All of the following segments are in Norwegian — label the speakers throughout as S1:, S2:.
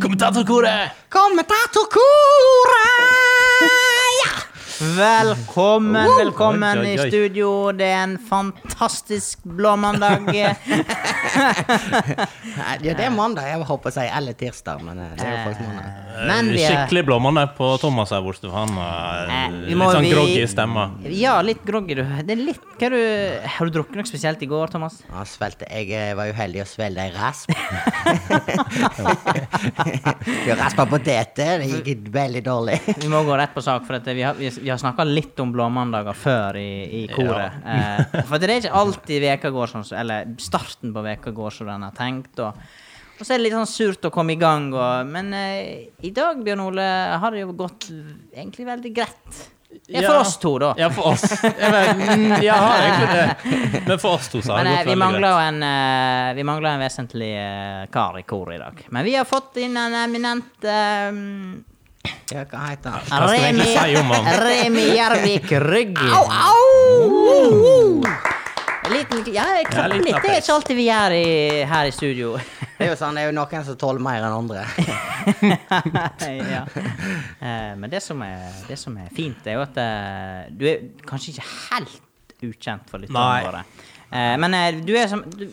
S1: kommentatorkoret!
S2: Kommentatorkoret! Ja! Velkommen, velkommen
S1: Oi, oi, oi.
S2: i studio. Det er en fantastisk blå mandag.
S1: Eh,
S3: Nei, ja, det er mandag. Jeg håper å si eller tirsdag, men eh, det er jo faktisk mandag.
S2: Men vi er
S1: Eh, Skikkelig blåmandag på Thomas her borte. for Han er
S2: Eh, vi
S1: litt
S2: må-
S1: sånn
S2: vi-
S1: groggy i stemma.
S2: Ja, litt groggy, du. Det er litt hva du, Har du drukket noe spesielt i går, Thomas?
S3: Ja, svelte. Jeg eh, var uheldig og svelget ei rasp. Jeg raspa potete. Det gikk veldig dårlig.
S2: Vi må gå rett på sak, for at vi har, vi- vi har snakka litt om blåmandager før i, i koret. Eh, for at det er ikke alltid veka går sånn, som- eller starten på veka går som den har tenkt. Og, og så er det litt sånn surt å komme i gang. Og, men eh, i dag, Bjørn Ole, har det jo gått egentlig veldig greit. Ja,
S1: Ja.
S2: for oss to, da.
S1: Ja, for oss. Jeg vet, mm, jeg har egentlig det. Men for oss to så har
S2: Men
S1: det gått
S2: eh, vi,
S1: veldig
S2: mangler
S1: greit.
S2: jo en, eh, vi mangler en vesentlig eh, kar i koret i dag. Men vi har fått inn en eminent eh,
S3: Ja, hva heter han?
S1: Hva skal jeg
S2: Remi,
S1: egentlig si om han?
S2: Remi Gjervik Rygge.
S3: Au, au!
S2: En liten, ja,
S1: Ja, litt
S2: jeg klapper litt. Det er
S1: applaus.
S2: ikke alltid vi gjør i, her i studio.
S3: Det er jo sånn, det er jo noen som tåler mer enn andre.
S2: ja. Eh, Men det som, er, det som er fint, er jo at eh, du er kanskje ikke helt ukjent for
S1: Nei.
S2: lytterne våre. Eh, Men eh, du er som du,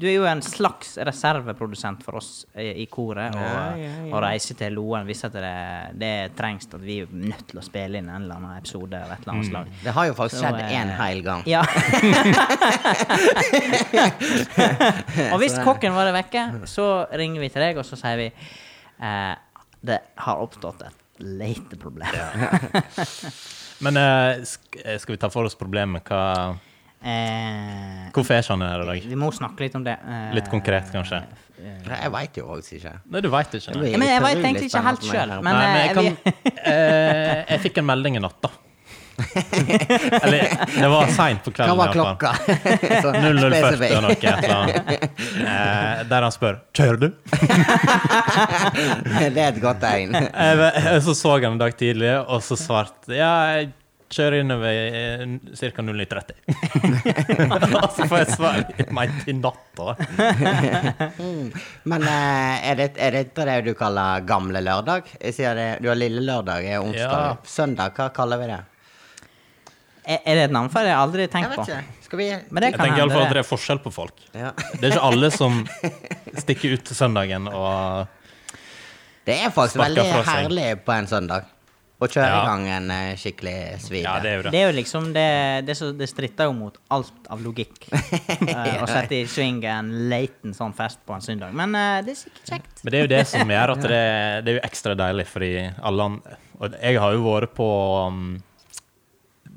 S2: du er jo en slags reserveprodusent for oss i i koret. Og,
S3: Ja, ja, ja.
S2: og reise til Loen hvis at det, det trengs at vi er nødt til å spille inn en eller annen episode av et eller annet slag.
S3: Det har jo faktisk
S2: Så,
S3: skjedd
S2: eh,
S3: en hel gang.
S2: Ja. og hvis kokken var vekke, så ringer vi til deg, og så sier vi eh, det har oppstått et lite problem.
S1: Men eh, sk eh, skal vi ta for oss problemet? Hva,
S2: Eh,
S1: hvorfor er ikke han her i dag?
S2: vi må snakke litt om det. eh,
S1: Litt konkret, kanskje.
S3: Jeg veit jo faktisk ikke.
S1: Nei, du veit ikke. Nei.
S2: Ja, men jeg vet
S3: Utrolig
S2: egentlig ikke helt
S3: spennende
S2: sjøl.
S3: for meg.
S2: Men,
S1: Nei, men jeg,
S2: eh, vi-
S1: kan, eh, jeg fikk en melding i natt, da. Eller det var seint på
S3: Hva
S1: kvelden.
S3: var
S1: i hvert fall.
S3: klokka? Sånn
S1: 0040
S3: spesifikt.
S1: eller noe. et eller annet. Eh, der han spør 'Kjører du?'
S3: Det er et godt tegn.
S1: Jeg ve- Så så han en dag tidlig, og så svarte 'Ja, jeg kjører innover eh, ca. 09.30'. og så får jeg svar meint i natt, da.
S3: Men eh, er, det, er dette det du kaller gamle lørdag? Jeg sier det, du har lille lørdag, er onsdag.
S1: Ja.
S3: Søndag, hva kaller vi det?
S2: er, er det et navn for det? Jeg har aldri tenkt på.
S3: Skal vi
S2: Men det
S1: Jeg
S2: kan
S1: tenker
S2: hende.
S1: iallfall at
S2: det.
S1: det er forskjell på folk.
S3: ja.
S1: Det er ikke alle som stikker ut til søndagen og
S3: Det er faktisk
S1: Sparker
S3: veldig
S1: fra seg.
S3: herlig på en søndag. Å kjøre
S1: Ja.
S3: i gang en eh, skikkelig svive.
S1: Ja, det er jo det.
S2: Det er jo liksom det, det, som- det stritter jo mot alt av logikk. eh, Å sette i sving en liten sånn fest på en søndag. Men eh, det er sikkert kjekt.
S1: Men det er jo det som gjør at det, det er jo ekstra deilig, fordi alle an- Og jeg har jo vært på um,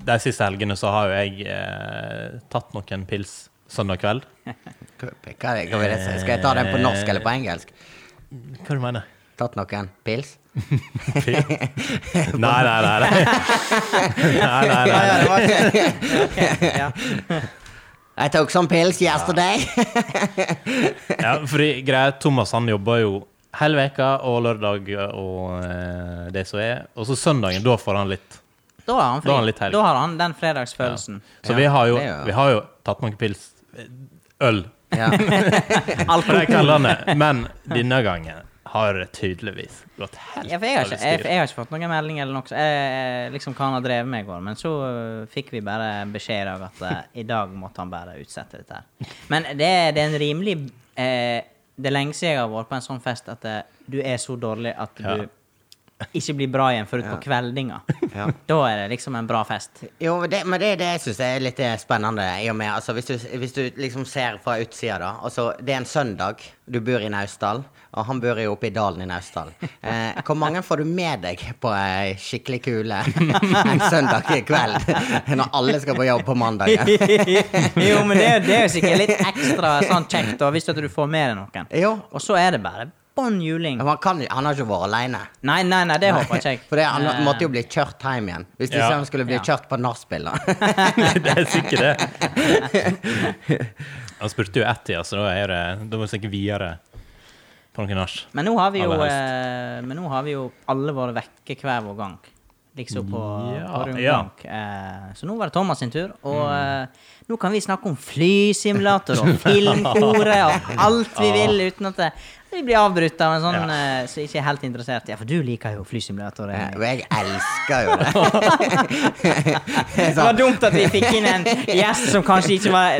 S1: De siste helgene så har jo jeg eh, tatt noen pils søndag kveld.
S3: Hva, hva hva vil jeg si? Skal jeg ta den på norsk eller på engelsk?
S1: Hva du mener du?
S3: Tatt noen pils?
S1: Nei, nei, nei. nei. nei, nei, nei, nei.
S2: ja.
S3: I took some pills yesterday.
S1: Ja, fordi greia er, Thomas han jobber jo hele veka og lørdag og eh, det som er. Og så søndagen, da får han litt.
S2: Da har han fri.
S1: Da har
S2: Da har
S1: han litt
S2: han,
S1: helg.
S2: den fredagsfølelsen.
S1: Så
S3: Ja,
S1: vi, har jo,
S3: det er jo-
S1: vi har jo tatt noen pils. eh, Øl.
S3: Ja.
S1: på de kveldene. Men denne gangen har det tydeligvis gått helt
S2: Ja, for jeg, har ikke,
S1: over
S2: jeg,
S1: styr.
S2: jeg har ikke fått noen melding eller noe. så Jeg, liksom hva han har drevet med i går. Men så øh, fikk vi bare beskjed i dag at eh, i dag måtte han bare utsette dette her. Men det, er- det er en rimelig eh, Det er lenge siden jeg har vært på en sånn fest at eh, du er så dårlig at du
S1: Ja.
S2: ikke blir bra igjen forut på kveldinga.
S3: Ja.
S2: Da er det liksom en bra fest.
S3: Jo, men det, men det er det jeg syns er litt eh, spennende. I og med, altså, hvis, du, hvis du liksom ser fra utsida, da. Altså, det er en søndag, du bor i Naustdal, og han bor jo oppe i dalen i Naustdal. Eh, hvor mange får du med deg på ei skikkelig kule en søndag kveld? Når alle skal på jobb på mandagen?
S2: jo, men det, er- det er jo sikkert litt ekstra sånn kjekt da, hvis at du får med deg noen.
S3: Jo.
S2: Og så er det bare bånn juling.
S3: Men han, kan, han har ikke vært aleine.
S2: Nei, nei, nei, det håper ikke jeg.
S3: For det, han
S2: Eh,
S3: måtte jo bli kjørt hjem igjen. Hvis du
S1: Ja.
S3: ikke han skulle bli
S2: Ja.
S3: kjørt på nachspiel, da.
S1: det er sikkert det. Han spurte jo ett tida, så da er det Da må vi sikkert videre på noen nach.
S2: Men nå har vi jo
S1: Aller helst.
S2: eh, Men nå har vi jo alle vært vekke hver vår gang. Liksom på,
S1: Ja,
S2: på
S1: ja. Mm.
S2: rundbank. Eh, så nå var det Thomas sin tur. Og eh, nå kan vi snakke om flysimulator og filmkoret og alt vi vil uten at det, Vi blir avbrutt av en sånn eh, som ikke er helt interessert. Ja, for du liker jo flysimulator. eh.
S3: Ja,
S2: Henrik.
S3: Og jeg elsker jo det.
S2: Det var dumt at vi fikk inn en gjest som kanskje ikke var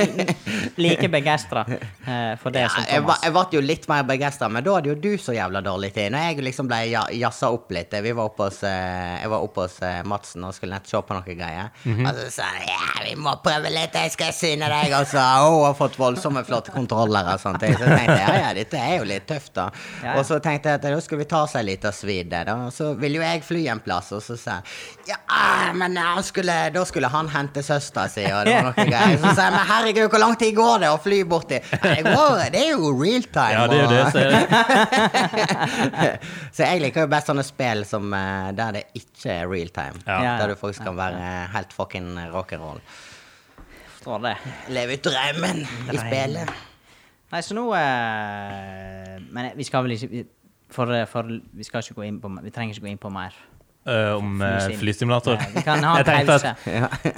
S2: like begeistra for det
S3: Ja,
S2: som
S3: jeg, var,
S2: Thomas.
S3: jeg ble jo litt mer begeistra, men da hadde jo du så jævla dårlig tid. Når jeg liksom ble ja- jazza opp litt Vi var oppe hos, eh, Jeg var oppe hos eh, Madsen og skulle nett se på noen greier.
S2: Mhm.
S3: Og så sa han ja, vi må prøve litt, jeg skal syne deg. Og så hun har fått voldsomme, flotte kontroller og sånt. Så tenkte jeg ja, ja, dette er jo litt tøft, da.
S2: Ja, ja.
S3: Og så tenkte jeg at da skal vi ta oss ei lita svidde. da. Og så ville jo jeg fly en plass, og så sa han ja, ah, men han skulle, da skulle han hente søstera si, og det var noe greier. Så sa jeg men herregud, hvor lang tid går det å fly borti? Nei, det går- Det er jo real time.
S1: Ja, det er jo det.
S3: og-
S1: Så er det.
S3: så jeg liker jo best sånne spill som, eh, der det ikke er real time.
S1: Ja.
S2: Ja, ja.
S3: Der du faktisk kan være eh, helt fucking rock'n'roll.
S2: Forstår det.
S3: Leve ut drømmen i spillet.
S2: Nei, så nå eh, Men vi skal vel ikke vi- for, for, Vi skal ikke gå inn på Vi trenger ikke gå inn på mer.
S1: Eh, om eh,
S2: Flysim.
S1: flysimulator.
S2: Ja, vi kan ha en
S1: Jeg tenkte
S2: pause.
S1: at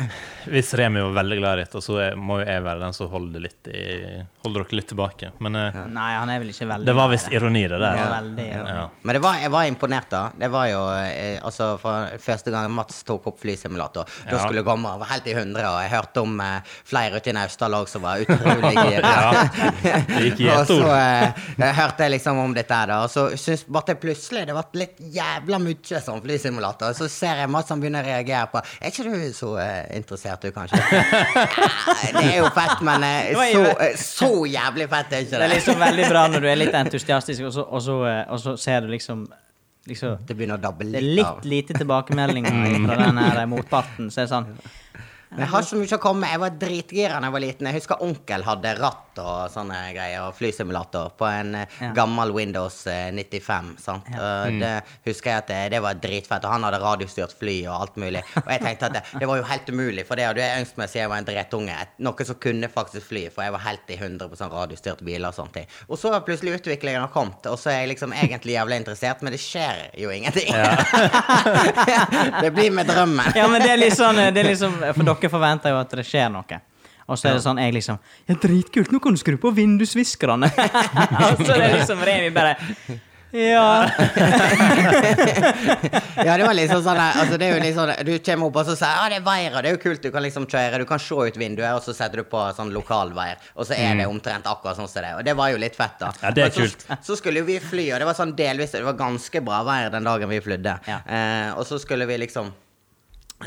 S1: Hvis Remi var veldig glad i dette, så er- må jo jeg være den som holder, litt i, holder dere litt tilbake. Men eh,
S2: Nei, han er vel ikke veldig
S1: det var visst ironi, det der.
S2: Ja, veldig, ja.
S1: Ja.
S3: Men det var, jeg var imponert, da. Det var jo eh, altså fra første gang Mats tok opp flysimulator. Da
S1: Ja.
S3: skulle det komme over helt i hundre, og jeg hørte om eh, flere ute i Naustdal òg som var utrolig gira.
S1: Ja. Det gikk i
S3: Og
S1: ett
S3: så
S1: ord.
S3: eh, jeg hørte jeg liksom om dette her, da. Og så syns ble jeg plutselig det ble litt jævla mye sånn flysimulator. Og så ser jeg Mats han begynner å reagere på Er ikke du så eh, interessert, du, kanskje? Ja, det er jo fett, men eh,
S2: Det var
S3: så,
S2: jo-
S3: eh, så jævlig fett er ikke
S2: Det er
S3: det.
S2: liksom veldig bra når du er litt entusiastisk, og så, og så, eh, og så ser du liksom, liksom
S3: Det begynner å dabbe
S2: Det er
S3: litt av.
S2: litt lite tilbakemeldinger fra den her motparten. Så er det sånn
S3: Men Jeg har ikke så mye å komme med. Jeg var dritgira da jeg var liten. Jeg husker onkel hadde ratt og sånne greier, og flysimulator, på en eh,
S2: Ja.
S3: gammel Windows eh, 95. sant? Og det husker jeg at eh, det, det var dritfett. Og han hadde radiostyrt fly og alt mulig. Og jeg tenkte at det, det var jo helt umulig, for det hadde jeg ønsket meg siden jeg var en drettunge. Et- Noe som kunne faktisk fly, for jeg var helt i 100 radiostyrte biler og sånne ting. Og så har plutselig utviklingen kommet, og så er jeg liksom egentlig jævlig interessert, men det skjer jo ingenting. det blir med drømmen.
S2: Ja, men det er litt sånn, det er litt sånn For dere forventer jo at det skjer noe. Og så er det sånn jeg liksom Ja, dritkult, nå kan du skru på vindusviskerne. og så er det liksom Remi bare Ja.
S3: Ja, det var liksom sånn der, altså det er jo liksom, Du kommer opp og så sier ah, det er veier, og det er jo kult. Du kan liksom kjøre, du kan se ut vinduet, og så setter du på sånn lokalveier. Og så er det omtrent akkurat sånn som det er. Og det var jo litt fett, da.
S1: Mm. Ja, det er
S3: Men Så, så skulle jo vi fly, og det var sånn delvis Det var ganske bra vær den dagen vi flydde.
S2: Ja.
S3: Eh, og så skulle vi liksom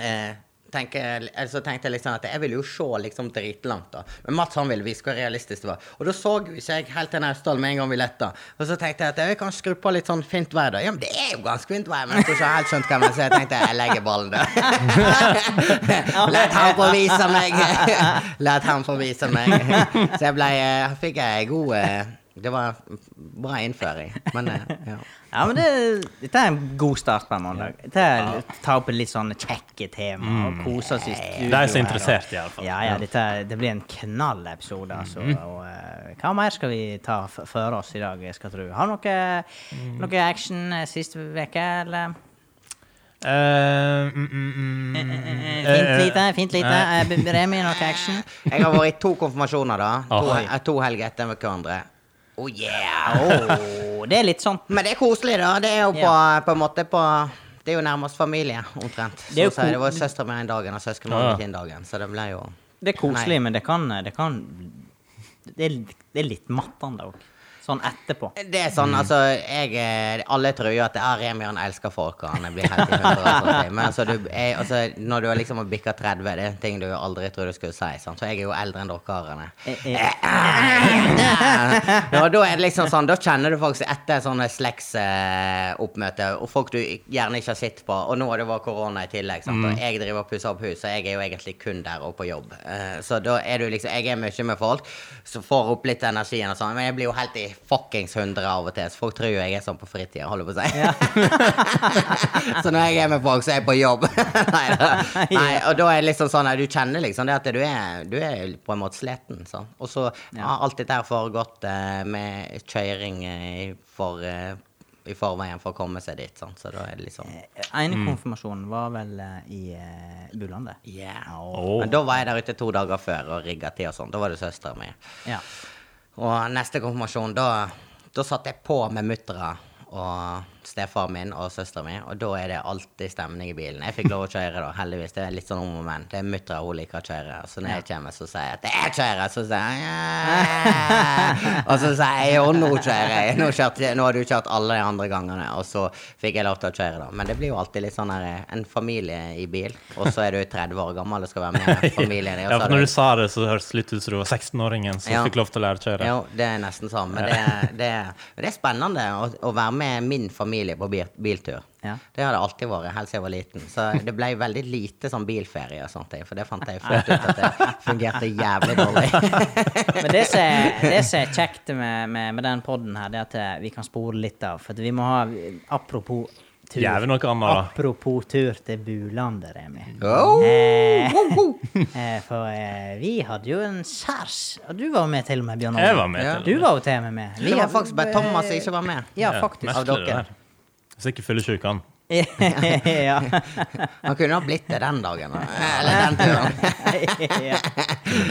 S3: eh, tenke, eller så tenkte jeg liksom at jeg ville jo se liksom dritlangt. da Men Mats han ville vise hvor realistisk det var. Og da så jo ikke jeg helt til Naustdal med en gang vi letta. Og så tenkte jeg at jeg kan skru på litt sånn fint vær, da. Ja, men det er jo ganske fint vær. Men jeg tror ikke jeg har helt skjønt hva jeg mener, så jeg tenkte jeg legger ballen der. La han få vise meg. La han få vise meg. Så jeg ble eh, Fikk jeg god eh, Det var bra innføring. Men eh, ja.
S2: Ja, men det, Dette er en god start på en mandag. Dette er, Ta opp litt sånne kjekke tema og kose oss i studio.
S1: De Mm. er så
S2: her,
S1: interessert,
S2: og-
S1: i alle fall. Mhm.
S2: Ja, ja, dette, er- det blir en knallepisode, altså. Og, eh, hva mer skal vi ta f føre oss i dag, skal tro? Har du noe,
S1: Mm.
S2: noe action eh, sist uke, eller?
S1: Eh, mm, mm, mm, mm, mm.
S2: eh, Fint lite, fint lite.
S1: Eh,
S2: Eh, B- Remi, noe action?
S3: Jeg har vært i to konfirmasjoner, da. To,
S1: Oi.
S3: eh, to helger etter hverandre. Oh yeah!
S2: Åh, det er litt sånn
S3: Men det er koselig, da. Det er jo på,
S2: Ja.
S3: på en måte på Det er jo nærmest familie, omtrent.
S2: Det er jo
S3: Så å si,
S2: ko-
S3: det var søstera mi den dagen og søskenbarnet
S1: Ja, ja.
S3: mitt den dagen, så det ble jo
S2: Det er koselig,
S3: Nei.
S2: men det kan, eh, det kan Det er, det er litt mattende òg. Sånn etterpå.
S3: Det er
S1: Mm.
S3: sånn, altså jeg, eh, Alle tror jo at ah, Remi han elsker folk, og han blir helt i hundre. og sånn. Men altså, du, jeg, altså, når du liksom har bikka 30, det er en ting du aldri tror du skulle si. Sant? Så jeg er jo eldre enn dere karene.
S2: Eh, eh,
S3: Ja, da er det liksom sånn, da kjenner du faktisk etter sånne slektsoppmøte, og folk du gjerne ikke har sett på, og nå har det vært korona i tillegg, sant? og jeg driver og pusser opp hus, så jeg er jo egentlig kun der og på jobb. Eh, Så da er du liksom, jeg er mye med folk, så får opp litt energien og sånn, men jeg blir jo helt i fuckings hundre av og til, så folk tror jo jeg er sånn på fritiden, holder på å si. så når jeg er med folk, så er jeg på jobb. Nei, da. Nei, og da er det liksom sånn at du kjenner liksom det at du er, du er på en måte sliten. Sånn. Og så har alt dette her foregått eh, med kjøring eh, i for, eh, i forveien for å komme seg dit. Sånn. Så da er det
S2: Eh,
S3: liksom
S2: ene konfirmasjonen var vel eh, i eh, Bulandet.
S3: Yeah.
S1: Åh.
S3: Men da var jeg der ute to dager før og rigga til og sånn. Da var det søstera mi.
S2: Ja.
S3: Og neste konfirmasjon, da Da satt jeg på med muttera og stefaren min og søstera mi, og da er det alltid stemning i bilen. Jeg fikk lov å kjøre, da, heldigvis. Det er litt sånn om og men. Det er muttera, hun liker å kjøre. Så når jeg kommer, så sier jeg at jeg kjører, så sier jeg ja. Og så sier jeg jo nå kjører jeg. Nå, kjørte, nå har du kjørt alle de andre gangene, og så fikk jeg lov til å kjøre, da. Men det blir jo alltid litt sånn her en familie i bil, og så er du 30 år gammel og skal være med familien din.
S1: Ja,
S3: og så
S1: for
S3: har du-
S1: når du sa det, så hørtes det litt ut som du var 16-åringen som
S3: Ja.
S1: fikk lov til å lære å kjøre.
S3: Jo, det er nesten sånn. Men det, det, men det er spennende å, å være med min familie på bil, biltur.
S2: Ja.
S3: Det har det alltid vært helt siden jeg var liten. Så det ble veldig lite sånn bilferie og sånt, for det fant jeg fort ut at det fungerte jævlig dårlig.
S2: Men det som er, det som er kjekt med, med, med den podden her, det er at eh, vi kan spore litt av. For at vi må ha Apropos tur.
S1: Jævlig noe annet, da.
S2: Apropos tur til Bulandet, Remi.
S3: Oh!
S2: Eh, eh, for eh, vi hadde jo en særs Og du var med til og med, Bjørn Olav.
S1: Jeg var med til og
S2: Du
S1: med.
S2: var jo til og med med.
S3: Det var faktisk bare Thomas som ikke var med.
S2: Ja, faktisk.
S1: merkelig
S3: Av dere.
S1: det der. Hvis ikke fyllesyk han.
S2: ja.
S3: Han kunne ha blitt det den dagen. Eller den turen.
S2: ja.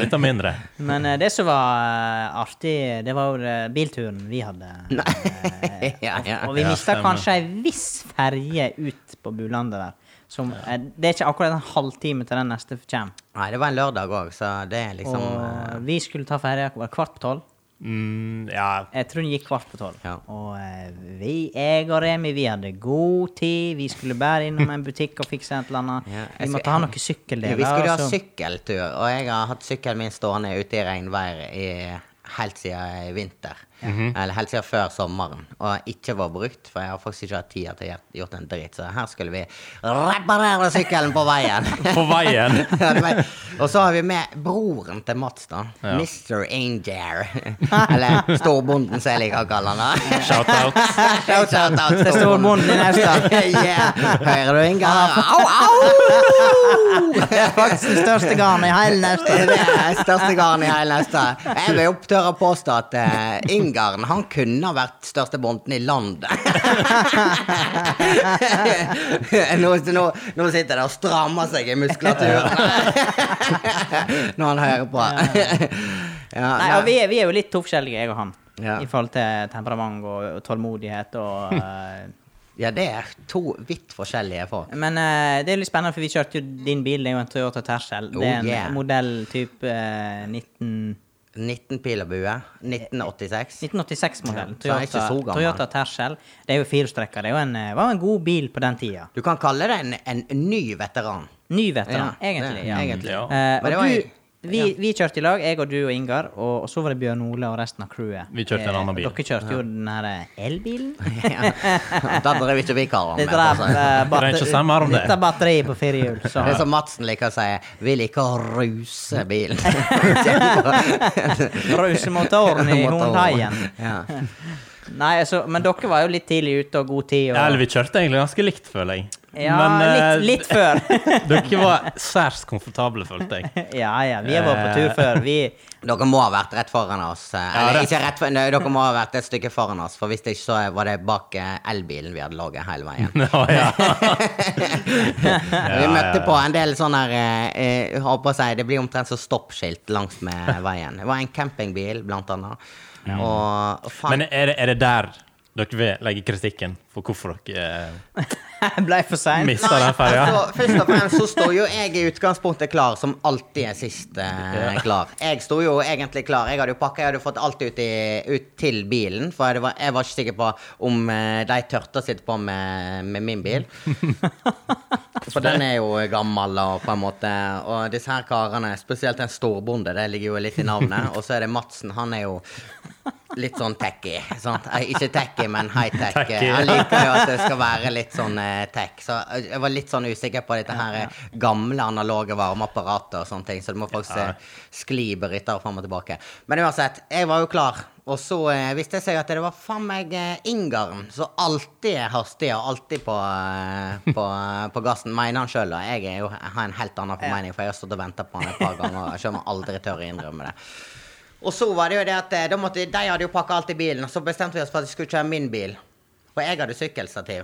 S1: Litt av mindre.
S2: Men eh, det som var eh, artig, det var jo eh, bilturen vi hadde. Eh,
S3: Ja, ja.
S2: og vi
S1: Ja,
S2: mista
S1: stemmer.
S2: kanskje ei viss ferje ut på Bulandet der. Som, eh, det er ikke akkurat en halvtime til den neste kommer.
S3: Nei, det var en lørdag òg, så det er liksom
S2: Og eh, vi skulle ta ferja var det kvart på tolv.
S1: Mm, ja,
S2: Jeg tror den gikk kvart på tolv.
S3: Ja.
S2: Og eh, vi, jeg og Remi, vi hadde god tid. Vi skulle bare innom en butikk og fikse et eller annet.
S3: Ja, altså, jeg
S2: vi
S3: skal-
S2: måtte ha noen
S3: Ja,
S2: sykkeldeler. altså.
S3: Vi skulle ha
S1: altså.
S2: og så-
S3: sykkeltur, og jeg har hatt sykkelen min stående ute i regnvær i, helt siden i vinter.
S1: Mhm.
S3: Eller helt siden før sommeren, og ikke var brukt, for jeg har faktisk ikke hatt tid til å gjøre- gjort en dritt. Så her skulle vi reparere sykkelen på veien!
S1: på veien.
S3: og så har vi med broren til Mats, da.
S1: Ja.
S3: Mr. Angel. Eller storbonden, som jeg liker å kalle han. da.
S1: Shout-out.
S3: Shout out til
S2: Til storbonden i Naustdal.
S3: yeah. Hører du, Inga? Au, au!
S2: Det er faktisk den største garnet i hele Naustdal.
S3: Det er største garn i hele Naustdal. Jeg vil opptørre å påstå at eh, Ingarn han kunne ha vært største bonden i landet. nå, nå, nå sitter det og strammer seg i muskulaturen når han hører på. ja,
S2: Nei, og vi er, vi er jo litt forskjellige, jeg og han.
S3: Ja.
S2: I forhold til temperament og, og tålmodighet og eh,
S3: ja, det er to vidt forskjellige folk.
S2: Men eh, det er jo litt spennende, for vi kjørte jo din bil. Det er jo en Toyota Tercel. Det er
S3: Oh,
S2: en
S3: yeah.
S2: modell type eh, 19,
S3: 19 pil og bue. 1986.
S2: 1986-modell.
S3: Ja, så den er ikke
S2: Toyota,
S3: så gammel.
S2: Toyota Tercel. Det er jo firestrekker. Det er jo en, eh, var jo en god bil på den tida.
S3: Du kan kalle det en, en ny veteran.
S2: Ny veteran,
S3: Ja,
S2: egentlig.
S3: det-
S2: Ja.
S3: egentlig.
S1: Ja.
S2: Eh,
S3: Men det
S2: og
S3: var
S2: du,
S3: jeg.
S2: vi, vi kjørte i lag, jeg og du og Ingar, og, og så var det Bjørn Ole og resten av crewet.
S1: Vi kjørte en
S2: Eh,
S1: annen bil.
S2: Dere kjørte jo den her eh, elbilen.
S3: Ja. altså, Da drev ikke vi karene
S2: Det
S3: med. for å
S2: drev
S3: si det.
S2: eh,
S1: Det er ikke samme om det.
S2: litt av batteri på firehjul. Så.
S3: Det er som Madsen liker å si, vi liker å ruse bilen. Kjempe-
S2: Brusemotoren i
S3: Motoren.
S2: Hundhaien.
S3: Ja.
S2: Nei, altså, men dere var jo litt tidlig ute og god tid. Og,
S1: Ja, eller vi kjørte egentlig ganske likt, føler jeg.
S2: ja,
S1: Men, eh,
S2: litt, litt før.
S1: dere var særs komfortable, følte jeg.
S2: ja, ja, vi har vært på
S1: Eh.
S2: tur før. Vi,
S3: Dere må ha vært rett foran oss. eh, Eller
S1: rett.
S3: ikke rett for, nei, dere må ha vært et stykke foran oss, for hvis det ikke så var det bak eh, elbilen vi hadde ligget hele veien.
S1: Å, ja.
S3: vi møtte
S1: ja, ja.
S3: på en del sånne her, eh, eh, holdt på å si, Det blir omtrent som stoppskilt langs med veien. Det var en campingbil, blant annet. Og, og faen,
S1: Men er det, er det der dere vil legge kritikken for hvorfor dere eh,
S2: jeg ble for sein.
S1: mista den ferja?
S3: Altså, først og fremst så står jo jeg i utgangspunktet klar, som alltid er sist eh, klar. Jeg sto jo egentlig klar. Jeg hadde jo pakka, jeg hadde fått alt ut, i, ut til bilen. For jeg var, jeg var ikke sikker på om eh, de tørte å sitte på med, med min bil. For den er jo gammel, og på en måte Og disse her karene, spesielt en storbonde, det ligger jo litt i navnet. Og så er det Madsen. Han er jo litt sånn techie. Sant? Eh, Ikke techie, men high-tech. eh,
S1: Techie.
S3: Han liker jo at det skal være litt sånn eh, tech. Så eh, jeg var litt sånn usikker på dette her eh, gamle analoge varmeapparatet og sånne ting, så du må faktisk eh, skli bryttere fram og tilbake. Men uansett, jeg var jo klar. Og så eh, viste det seg at det var faen meg eh, Ingarn som alltid er hastig og alltid på, eh, på, på gassen, mener han sjøl. Jeg er jo, jeg har en helt annen formening, for jeg har stått og venta på han et par ganger. og Selv om jeg aldri tør å innrømme det. Og så var det jo det at eh, da måtte, de hadde jo pakka alt i bilen, og så bestemte vi oss for at vi skulle kjøre min bil. Og jeg hadde sykkelstativ.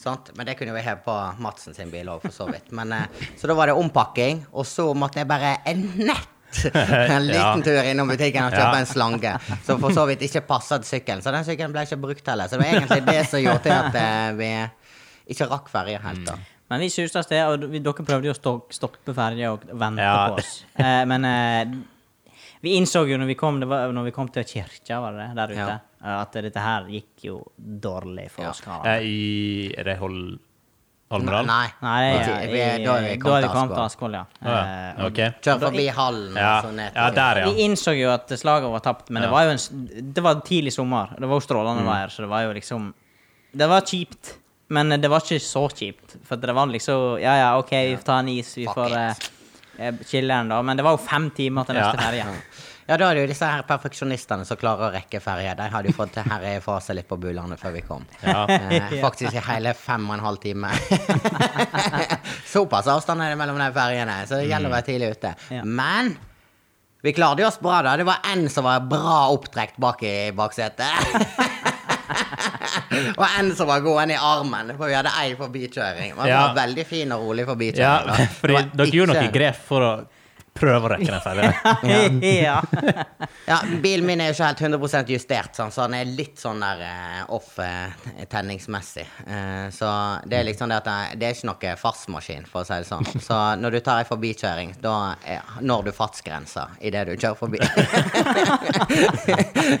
S3: Sant? Men det kunne vi heve på Madsen sin bil òg, for så vidt. Men, eh, så da var det ompakking, og så måtte jeg bare eh, nett En liten
S1: Ja.
S3: tur innom butikken og
S1: Ja.
S3: kjøpe en slange. Som for så vidt ikke passet til sykkelen. Så den sykkelen ble ikke brukt heller. Så det var egentlig det som gjorde at eh, vi ikke rakk ferja helt.
S1: Mm.
S3: da.
S2: Men vi suste av sted, og vi, dere prøvde jo å stok- stoppe ferja og vente
S1: Ja.
S2: på oss. Eh, men eh, vi innså jo når vi kom, det var, når vi kom til kirka, var det det, der ute, eh, at dette her gikk jo dårlig for
S3: Ja.
S2: oss karer.
S1: Eh, I Er det Hol Holmedal?
S3: Nei.
S2: Nei, det er-
S3: Vi- vi-
S2: i-
S3: da er vi kommet til
S2: kommet til Askvoll,
S3: Askvoll.
S2: ja.
S1: Ah,
S2: Eh,
S3: Um,
S1: ja.
S2: og
S1: OK.
S3: Kjør forbi hallen
S1: Ja,
S3: og så ned
S1: ja der, ja.
S2: Vi innså jo at slaget var tapt, men det
S1: Ja. Mm.
S2: var jo en, s- det var tidlig sommer. Det var jo strålende vær, så det var jo liksom Det var kjipt, men det var ikke så kjipt. For det var liksom Ja ja, OK, vi får ta en is, vi
S3: Fuck
S2: får
S3: it.
S2: eh, chille en da. Men det var jo fem timer til
S1: Ja.
S2: neste ferje.
S3: Ja, da er det jo disse her perfeksjonistene som klarer å rekke ferje. De hadde jo fått til herje fra seg litt på Bulandet før vi kom.
S1: Ja.
S3: Eh, faktisk i hele fem og en halv time. Såpass avstand er det mellom de ferjene, så det gjelder å være tidlig ute.
S1: Mm.
S2: Ja.
S3: Men vi klarte oss bra, da. Det var en som var bra opptrekt bak i baksetet. og en som var gående i armen, for vi hadde ei forbikjøring. Man
S1: Ja.
S3: var veldig fin og rolig
S1: ja,
S3: forbikjøring. da. Det
S1: fordi
S3: var
S1: dere gjorde
S3: ikke-
S1: noen grep for å prøve å rekke den ferja.
S2: ja.
S3: Ja, bilen min er jo ikke helt 100 justert, sånn, så han er litt sånn der eh, off eh, tenningsmessig. Eh, så det er liksom det at jeg, det er ikke noe fartsmaskin, for å si det sånn. Så når du tar ei forbikjøring, da er- når du fartsgrensa idet du kjører forbi.